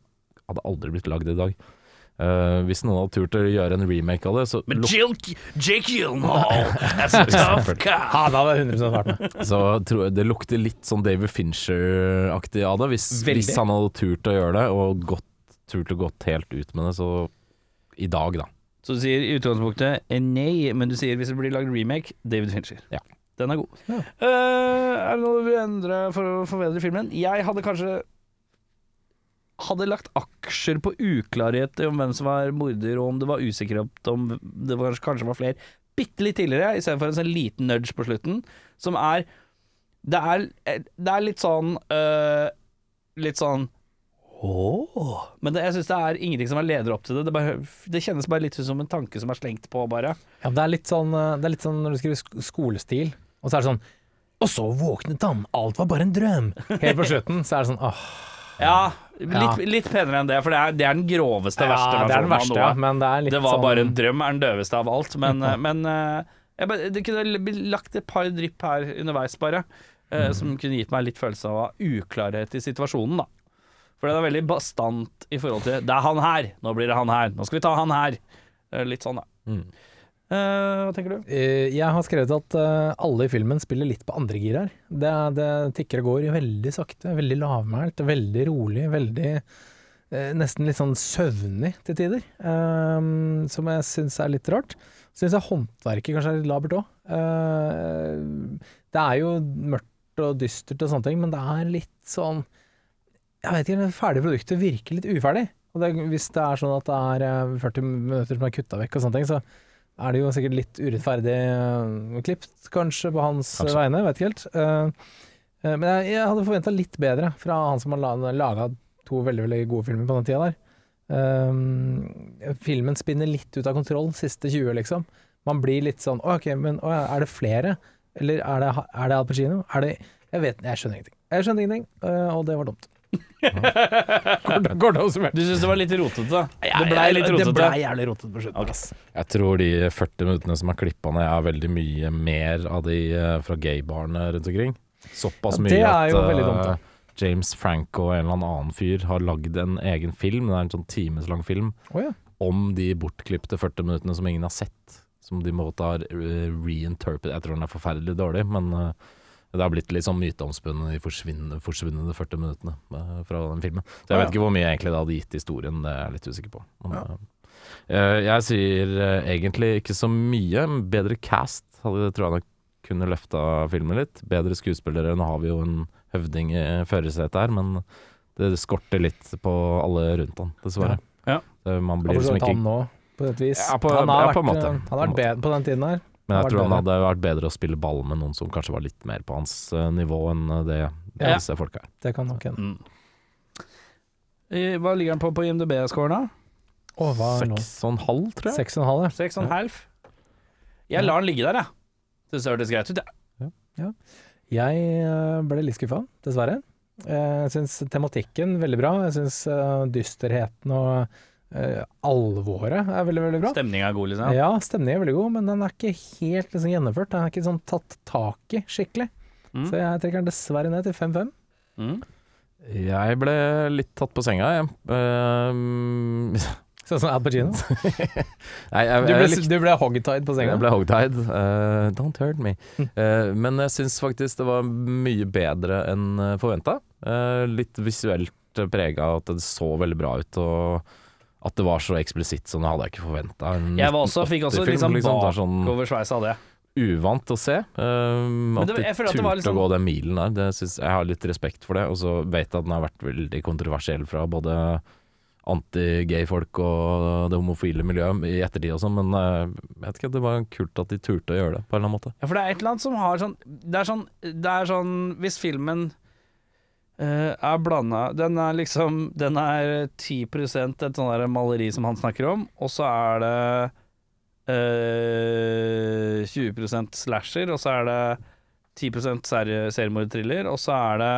hadde aldri blitt lagd i dag. Eh, hvis noen hadde turt å gjøre en remake av det, så, Men luk- Jake, Jake Gyllenhaal as a tough guy. Ja, da hadde jeg 100 vært med. så tror jeg det lukter litt sånn David Fincher-aktig av det. Hvis, Veldig. hvis han hadde turt å gjøre det, og gått, turt å gått helt ut med det, så i dag, da. Så du sier i utgangspunktet eh, nei, men du sier hvis det blir lagd remake, David Fincher. Ja. Den er god. Ja. Eh, er det noe du vil endre for å forbedre filmen? Jeg hadde kanskje hadde lagt aksjer på uklarhet om hvem som var morder, og om det var usikkerhet om det var, kanskje var flere, bitte litt tidligere, istedenfor en sånn liten nudge på slutten, som er Det er, eh, det er litt sånn eh, Litt sånn Åh. Men det, jeg syns det er ingenting som er leder opp til det. Det, bare, det kjennes bare litt ut som en tanke som er slengt på, bare. Ja, det, er litt sånn, eh, det er litt sånn når du skriver sk- skolestil, og så er det sånn Og så våknet han, alt var bare en drøm. Helt på slutten så er det sånn åh. Ja, litt, litt penere enn det, for det er, det er den groveste, verste ja, det er versjonen den av verste, noe. ja, men det er litt Det var sånn bare en drøm, er den døveste av alt. Men, men eh, jeg, bare- det kunne l- blitt lagt et par drypp her underveis, bare. eh, Mm. Som kunne gitt meg litt følelse av uklarhet i situasjonen, da. For den er veldig bastant i forhold til Det er han her! Nå blir det han her! Nå skal vi ta han her! Eh, Litt sånn, da. Mm. Eh, hva tenker du? Eh, Jeg har skrevet at eh, alle i filmen spiller litt på andre gir her. Det, er- det tikker og går veldig sakte, veldig lavmælt, veldig rolig, veldig eh, Nesten litt sånn søvnig til tider, eh, som jeg syns er litt rart. Syns jeg håndverket kanskje er litt labert òg. det er jo mørkt og dystert og sånne ting, men det er litt sånn Jeg vet ikke, det ferdige produktet virker litt uferdig. Og det, hvis det er sånn at det er eh, 40 minutter som er kutta vekk og sånne ting, så er det jo sikkert litt urettferdig uh, klipt, kanskje, på hans Kanskje. vegne. Vet ikke helt. Eh, eh, men jeg, jeg hadde forventa litt bedre fra han som har laga to veldig veldig gode filmer på den tida der. Eh, filmen spinner litt ut av kontroll, siste 20, liksom. Man blir litt sånn OK, men å, ja, er det flere? Eller er det, er det Al Pacino? Er det Jeg vet Jeg skjønner ingenting. Jeg skjønner ingenting, eh, og det var dumt. Kort, kort oppsummert. Du syns det var litt rotete? Det blei Jeg- litt det rotete. blei jævlig rotete på slutten. Ok. ass. Jeg tror de 40 minuttene som er klippa ned, er veldig mye mer av de eh, fra gaybarene rundt omkring. Såpass Ja, mye det er jo at eh, veldig dumt, da. James Franco og en eller annen fyr har lagd en egen film, det er en sånn timeslang film, Å ja. om de bortklipte 40 minuttene som ingen har sett. Som de måtte ha reinterpret Jeg tror den er forferdelig dårlig, men eh, det har blitt litt sånn myteomspunnet de forsvinnende, forsvinnende 40 minuttene eh, fra den filmen. Så jeg vet ikke hvor mye egentlig det hadde gitt historien, det er jeg litt usikker på. Men, eh, Eh, jeg sier eh, egentlig ikke så mye. men Bedre cast hadde tror jeg nok kunne løfta filmen litt. Bedre skuespillere. Nå har vi jo en høvding i førersetet her, men det skorter litt på alle rundt han, dessverre. Ja. Eh, Man Han blir har liksom forstått ikke han nå, på et vis. Ja, på- han har ja, på vært, en måte. eh, Han har vært På bedre på den tiden her. Men jeg vært tror han bedre. hadde vært bedre å spille ball med noen som kanskje var litt mer på hans eh, nivå enn eh, det Ja. disse folka er. Det kan nok hende. Eh, Hva ligger den på på IMDb-scoren, da? Å, hva er nå? Seks og en halv, tror jeg. Seks og en halv, ja. Seks og en halv? sånn Jeg lar den ligge der, jeg. Syns det hørtes greit ut, jeg. Jeg eh, ble litt skuffa, dessverre. Eh, Jeg syns tematikken veldig bra. Jeg syns eh, dysterheten og eh, alvoret er veldig, veldig bra. Stemninga er god, liksom. Ja, stemningen er veldig god, men den er ikke helt liksom, gjennomført. Den er ikke sånn tatt tak i skikkelig. Mm. Så jeg trekker den dessverre ned til 5-5. Mm. Jeg ble litt tatt på senga, jeg. Ehm, Sånn som Al Pacino. nei, jeg, Du jeg, ble, likte- du ble hogtied på senga. Hm. jeg ble hogtied. Eh, don't hurt me. Eh, men jeg syns faktisk det var mye bedre enn forventa. litt visuelt prega av at det så veldig bra ut, og at det var så eksplisitt som det hadde jeg ikke forventa. Jeg var også, fikk altså, også liksom sånn bakoversveis av det. uvant å se. Um, Men at det- de jeg føler turte at det var liksom- å gå den milen der. Det synes, jeg har litt respekt for det, og så vet jeg at den har vært veldig kontroversiell fra både anti-gay-folk og det homofile miljøet i ettertid og sånn, men eh, jeg vet ikke, det var kult at de turte å gjøre det på en eller annen måte. Ja, for det er et eller annet som har sånn Det er sånn, det er sånn Hvis filmen eh, er blanda Den er liksom Den er 10 et sånn der maleri som han snakker om, og så er det eh, 20 slasher, og så er det 10 serie- seriemorderthriller, og så er det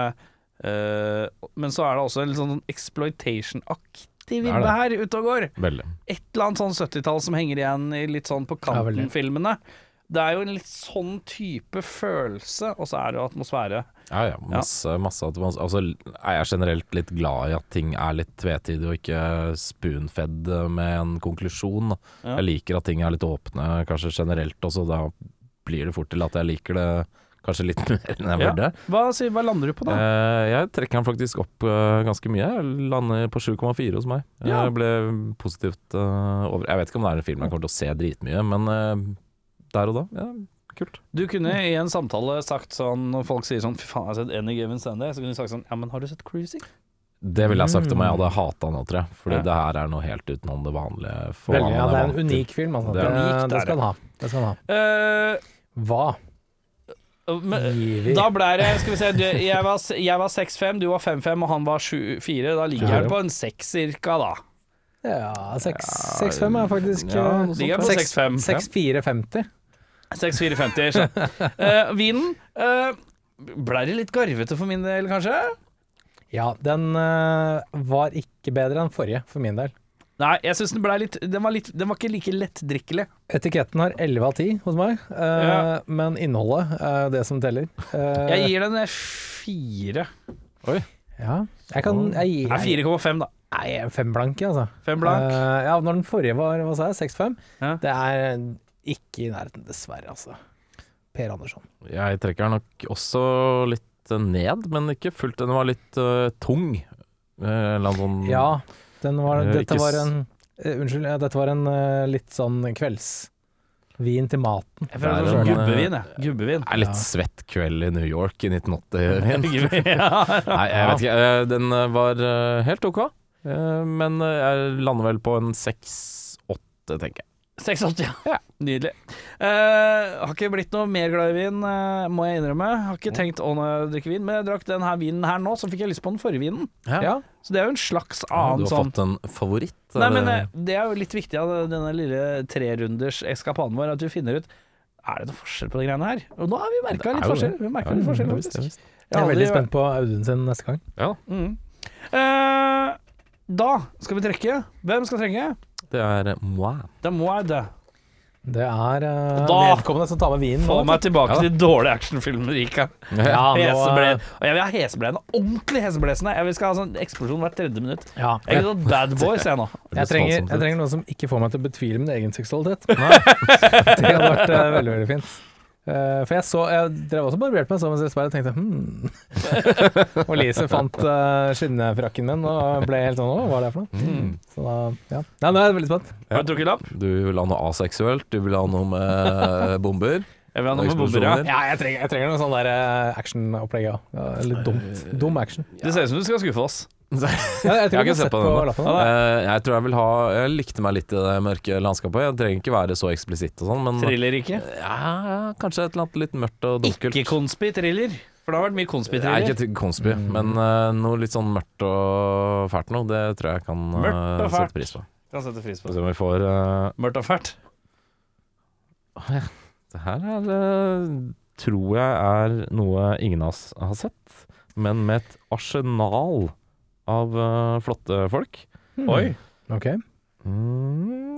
eh, Men så er det også en litt sånn exploitation-aktig Det er vibbe her ute og går Veldig. et eller annet sånn 70-tall som henger igjen i litt sånn på Ja, veldig. kanten-filmene. Det er jo en litt sånn type følelse, og så er det jo atmosfære. Ja, ja, masse, masse at man, Altså, er jeg generelt litt glad i at ting er litt tvetydig og ikke spoonfed med en konklusjon. da. Ja. Jeg liker at ting er litt åpne, kanskje generelt også, da blir det fort til at jeg liker det kanskje litt mer enn Ja. jeg burde. Hva, sier- hva lander du på da? Eh, jeg trekker den faktisk opp eh, ganske mye. Jeg lander på 7,4 hos meg. Ja. Jeg ble positivt eh, over Jeg vet ikke om det er en film jeg kommer til å se dritmye, men eh, der og da, ja, kult. Du kunne i en samtale sagt sånn, når folk sier sånn 'fy faen, jeg har sett Any Given Sunday', så kunne du sagt sånn 'ja, men har du sett Cruising'? Det ville jeg sagt om jeg Mm. hadde hata nå, tror jeg. Fordi Ja. det her er noe helt utenom det vanlige. for hva Veldig, ja, man det er vant en til. unik film. Altså. Det Det, er det, unikt, det er skal han ha. det skal han ha. Eh, Hva men, gir vi? da ble det Skal vi se, du, jeg var, jeg var 6-5, du var 5-5, og han var 7-4. Da ligger jeg på en 6 cirka, da. Ja, 6-5 er faktisk eh, Ja, noe sånt, Ligger jeg på 6-5? seks- 6-4-50. 6-4-50. så. Eh, vinen eh, ble det litt garvete for min del, kanskje? Ja, den eh, var ikke bedre enn forrige, for min del. Nei, jeg syns den ble litt den, var litt den var ikke like lettdrikkelig. Etiketten har 11 av 10 hos meg, eh, Ja. men innholdet er det som teller. Eh, Jeg gir den en fire. ja, jeg kan Jeg gir Nei, 4,5, da. Nei, jeg er fem blank, jeg, altså. Fem blank. Eh, ja, når den forrige var hva sa jeg, 6-5, Ja. det er ikke i nærheten, dessverre, altså. Per Andersson. Jeg trekker den nok også litt eh, ned, men ikke fullt. Den var litt eh, tung. Eh, en eller annen sånn Ja, den var, Eh, dette ikke var s- en eh, Unnskyld, ja, dette var en eh, litt sånn kveldsvin til maten. Jeg føler føler det det er som en, gubbevin. jeg. Gubbevin. eh, er Ja. litt svett kveld i New York i 1980-vin. ja. Nei, jeg vet ikke. eh, Den eh, var eh, helt ok, eh, men eh, jeg lander vel på en 6-8, tenker jeg. 86, ja. Nydelig. Eh, har ikke blitt noe mer glad i vin, eh, må jeg innrømme. Har ikke tenkt å nå drikke vin, men jeg drakk den her vinen her nå, så fikk jeg lyst på den forrige vinen. Ja, Så det er jo en slags Du annen har sånn fått en favoritt? Nei, men eller? eh, Det er jo litt viktig av denne lille trerunders eskapaden vår, at vi finner ut Er det noe forskjell på de greiene her. Og nå har vi merka Det er litt jo forskjell. det. Vi merket Ja, litt forskjell, ja, visst, ja, faktisk. visst. jeg er veldig aldri- spent på Audun sin neste gang. Mm. Eh, da skal vi trekke. Hvem skal trekke? Det er eh, moi. Det må jeg det. Det er eh, Og da- vedkommende som tar med vinen. Få nå, meg tilbake Ja. til dårlige actionfilmer, Rika. Ja, nå, Heseble- eh, Og jeg vil ha heseblesende. Ordentlig heseblesende. Jeg vil skal ha sånn eksplosjon hvert tredje minutt. ja. Jeg Jeg, vil ha Bad Boys, jeg nå. jeg, trenger, Smalsomt ut. jeg trenger noen som ikke får meg til å betvile min egen seksualitet. Det hadde vært eh, veldig, veldig fint. Eh, for jeg så Jeg drev også og barberte meg så mens jeg speilet og tenkte hm. og Lise fant eh, skinnefrakken min og ble helt sånn Å, hva er det for noe? Mm. Så da, ja. Nei, nå er jeg veldig spent. Ja. Har du trukket lapp? Du vil ha noe aseksuelt, du vil ha noe med eh, bomber. Jeg vil ha noe med Eksplosjoner. bomber, ja. Ja, jeg trenger, jeg trenger noe sånn der eh, actionopplegg, ja. ja. Litt dumt. Eh, Dum action. Det ser ut som du skal skuffe oss. Ja, jeg, Jeg tror har jeg ikke har sett sett på på den ennå. lappen. Ah, Eh, jeg tror jeg vil ha Jeg likte meg litt i det mørke landskapet. Jeg trenger ikke være så eksplisitt og sånn, men Thriller ikke. ja, kanskje et eller annet litt mørkt og dunkelt. Ikke konspi-thriller. For det har vært mye Nei, ikke konspi-thriller. til Konsby, men eh, noe litt sånn mørkt og fælt noe. Det tror jeg jeg kan eh, Mørkt og fælt. sette pris på. Kan sette pris på Skal vi se om vi får eh, Mørkt og fælt. Det her er eh, tror jeg er noe ingen av oss har sett, men med et arsenal av eh, flotte folk. Hmm. Ok.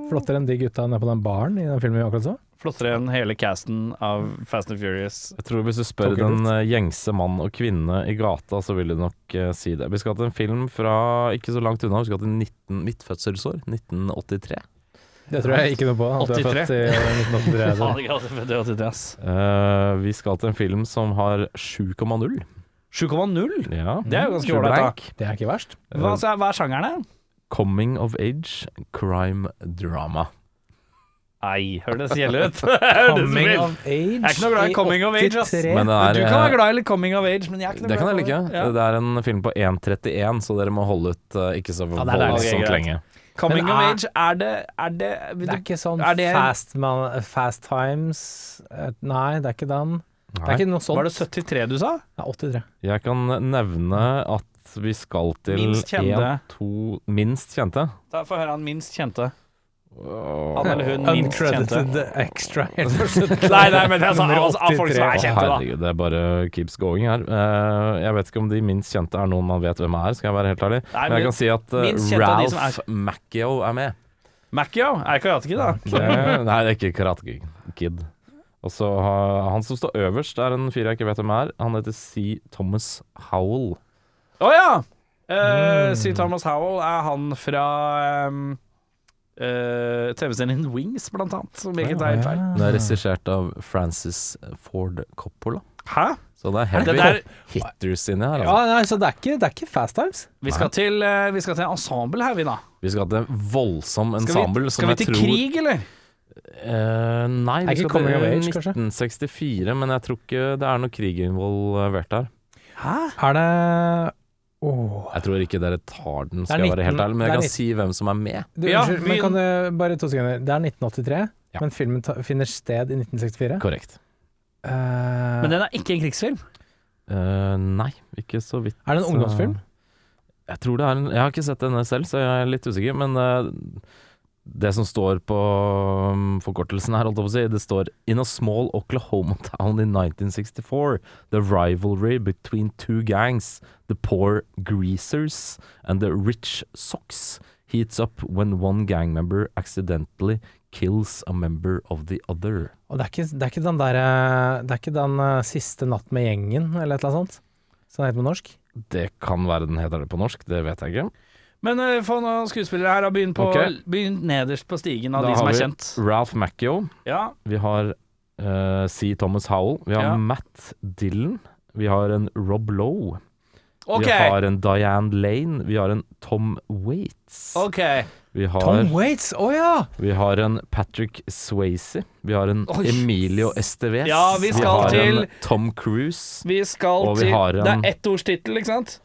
Flottere enn de gutta nede på den baren i den filmen vi akkurat så. Flottere enn hele casten av Fast and Furious. Jeg tror hvis du spør Tokyo den eh, gjengse mann og kvinne i gata, så vil de nok eh, si det. Vi skal til en film fra ikke så langt unna, vi skal til 19, mitt fødselsår, 1983. Det tror jeg ikke noe på. At du er 83. født i eh, 1983. Faen, jeg hadde født i 83, ass. Eh, vi skal til en film som har 7,0. 7,0. Ja. Det er jo ganske Sju ålreit, da. Mm. blank. Det er ikke verst. Hva, altså, hva er sjangeren, da? Coming of age, crime drama. Nei, hør det kjedelig ut. Coming Coming of age Jeg er ikke noe glad i coming of age, ass. 83. Men det er, Du kan eh, være glad i litt coming of age, men jeg er ikke noe Det kan glad jeg i like. Ja. Det er en film på 1,31, så dere må holde ut eh, ikke så Ja, det er det. voldsomt Ok, greit. lenge. Coming Men of er- age, er det, er det, vil Det er du, ikke sånn Er det- fast, man, fast Times eh, Nei, det er ikke den. Det er Nei. ikke noe sånt. Var det 73 du sa? Ja, 83. Jeg kan nevne at vi skal til Minst kjente. en, to Minst kjente. Da får jeg høre han minst kjente. Åh. Han eller hun minst kjente. Uncredited extra. Nei, nei, men jeg sa Nummer altså, av folk som er 83. kjente, da. Herregud, det er bare keeps going her. Eh, jeg vet ikke om de minst kjente er noen man vet hvem er, skal jeg være helt ærlig. Nei, Men jeg men kan si at eh, minst kjente av de som er- Ralph Macchio er med. Macchio er karateki, da. Det, nei, det er ikke Karate Kid- Kid. Og så har- han som står øverst, er en fyr jeg ikke vet hvem er. Han heter C. Thomas Howell. Å ja! Mm. Eh, Sir Thomas Howell er han fra ehm, eh, TV-serien Wings, blant annet. Som ikke tar helt feil. Den er regissert av Francis Ford Coppola. Hæ? Så det Det er heavy der- hitters inni her. Ja, Altså. nei, så det er ikke, det er ikke Fast Times. Vi skal, til, eh, vi skal til en ensemble her, vi, da. Vi skal til en voldsom Skal ensemble vi, som skal vi jeg til tror krig, eller? Eh, nei, Er vi ikke skal Coming of til Age, kanskje? 1964, men jeg tror ikke det er noe krig involvert der. Er det Åh. Jeg tror ikke dere tar den, Det skal er jeg være helt 19 ærlig, men det er jeg kan 19 si hvem som er med. Du, Ja, unnskyld, vi- men kan du bare to sekunder. Det er 1983, Ja. men filmen ta, finner sted i 1964. Korrekt. Eh, Men den er ikke en krigsfilm. Eh, nei, ikke så vidt. er det en så- ungdomsfilm? Jeg tror det er en Jeg har ikke sett denne selv, så jeg er litt usikker, men eh, det som står på um, forkortelsen her, holdt jeg på å si, det står In a small Oklahoma town in 1964, the rivalry between two gangs, the poor greasers and the rich socks, heats up when one gang member accidentally kills a member of the other. Og det er ikke, det er ikke den derre Det er ikke den eh, siste natt med gjengen, eller et eller annet sånt? Som den heter på norsk? Det kan være den heter det på norsk, det vet jeg ikke. Men eh, få noen skuespillere her. da. Begynn på- Ok. begynn nederst på stigen av Da de som har er vi- kjent. Ralph Macchio, Ja. Vi har eh, C. Thomas Howell. Vi har Ja. Matt Dillon. Vi har en Rob Lowe. OK. Vi har en Diane Lane. Vi har en Tom Waits. ok Vi, Tom har, Waits! Å ja! vi har en Patrick Swayze. Vi har en Oi. Emilio Estevez. Ja, vi skal har til- en Tom Cruise. Vi skal Og vi til har en- Det er ettordstittel, ikke sant?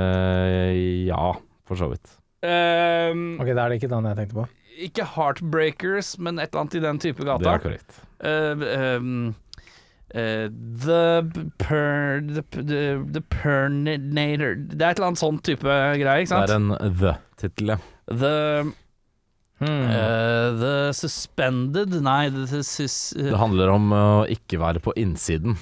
Eh, ja, for så vidt. Ehm, Ok, da er det ikke den jeg tenkte på. Ikke Heartbreakers, men et eller annet i den type Det gata. er korrekt. Eh, ehm, eh, the per... The, the, the Perninator Det er et eller annet sånn type greie, ikke Det sant? er en The-tittel, ja. The Mm. Hmm. eh, The Suspended Nei, The, sus, Det handler om eh, å ikke være på innsiden.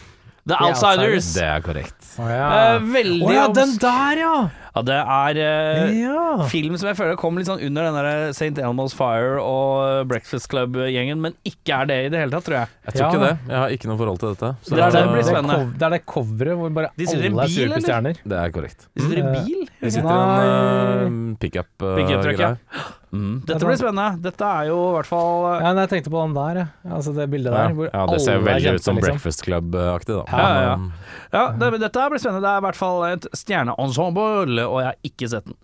the Outsiders. Det er korrekt. Å ja. Eh, veldig Å ja, obs- den der, ja! Ja, det er eh, ja. film som jeg føler kom litt sånn under den der St. Elmo's Fire og eh, Breakfast Club-gjengen, men ikke er det i det hele tatt, tror jeg. Jeg tror Ja. ikke det. Jeg har ikke noe forhold til dette. Det er det blir Det er spennende. cov- Det er det coveret hvor bare De alle sitter i en er bil, sure på eller? stjerner. Det er korrekt. De sitter Mm. i bil. Vi sitter i en uh, Pickup truck, ja. pickup-greie. mm. Dette blir spennende. Dette er jo i hvert fall eh, Ja, nei, jeg tenkte på den der, ja. altså det bildet der. ja. Hvor ja, det ser alle er veldig ut kjente, som liksom. Breakfast Club-aktig, da. Ja, ja, ja. Men, Ja, det, men dette blir spennende. Det er i hvert fall et stjerneensemble, og jeg har ikke sett den.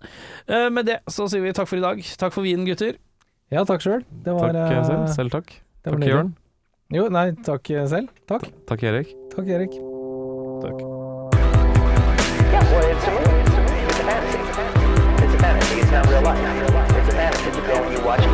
Eh, Med det så sier vi takk for i dag. Takk for vinen, gutter. Ja, takk sjøl. Det var Takk eh, selv. Selv takk. det var Takk, nydelig. Jørn. Jo, nei, takk eh, selv. Takk. Takk, Erik. Takk, Erik. Yeah, well, it's a movie. It's a movie. It's a fantasy. It's a fantasy. It's not real life. It's a fantasy. You go and you watch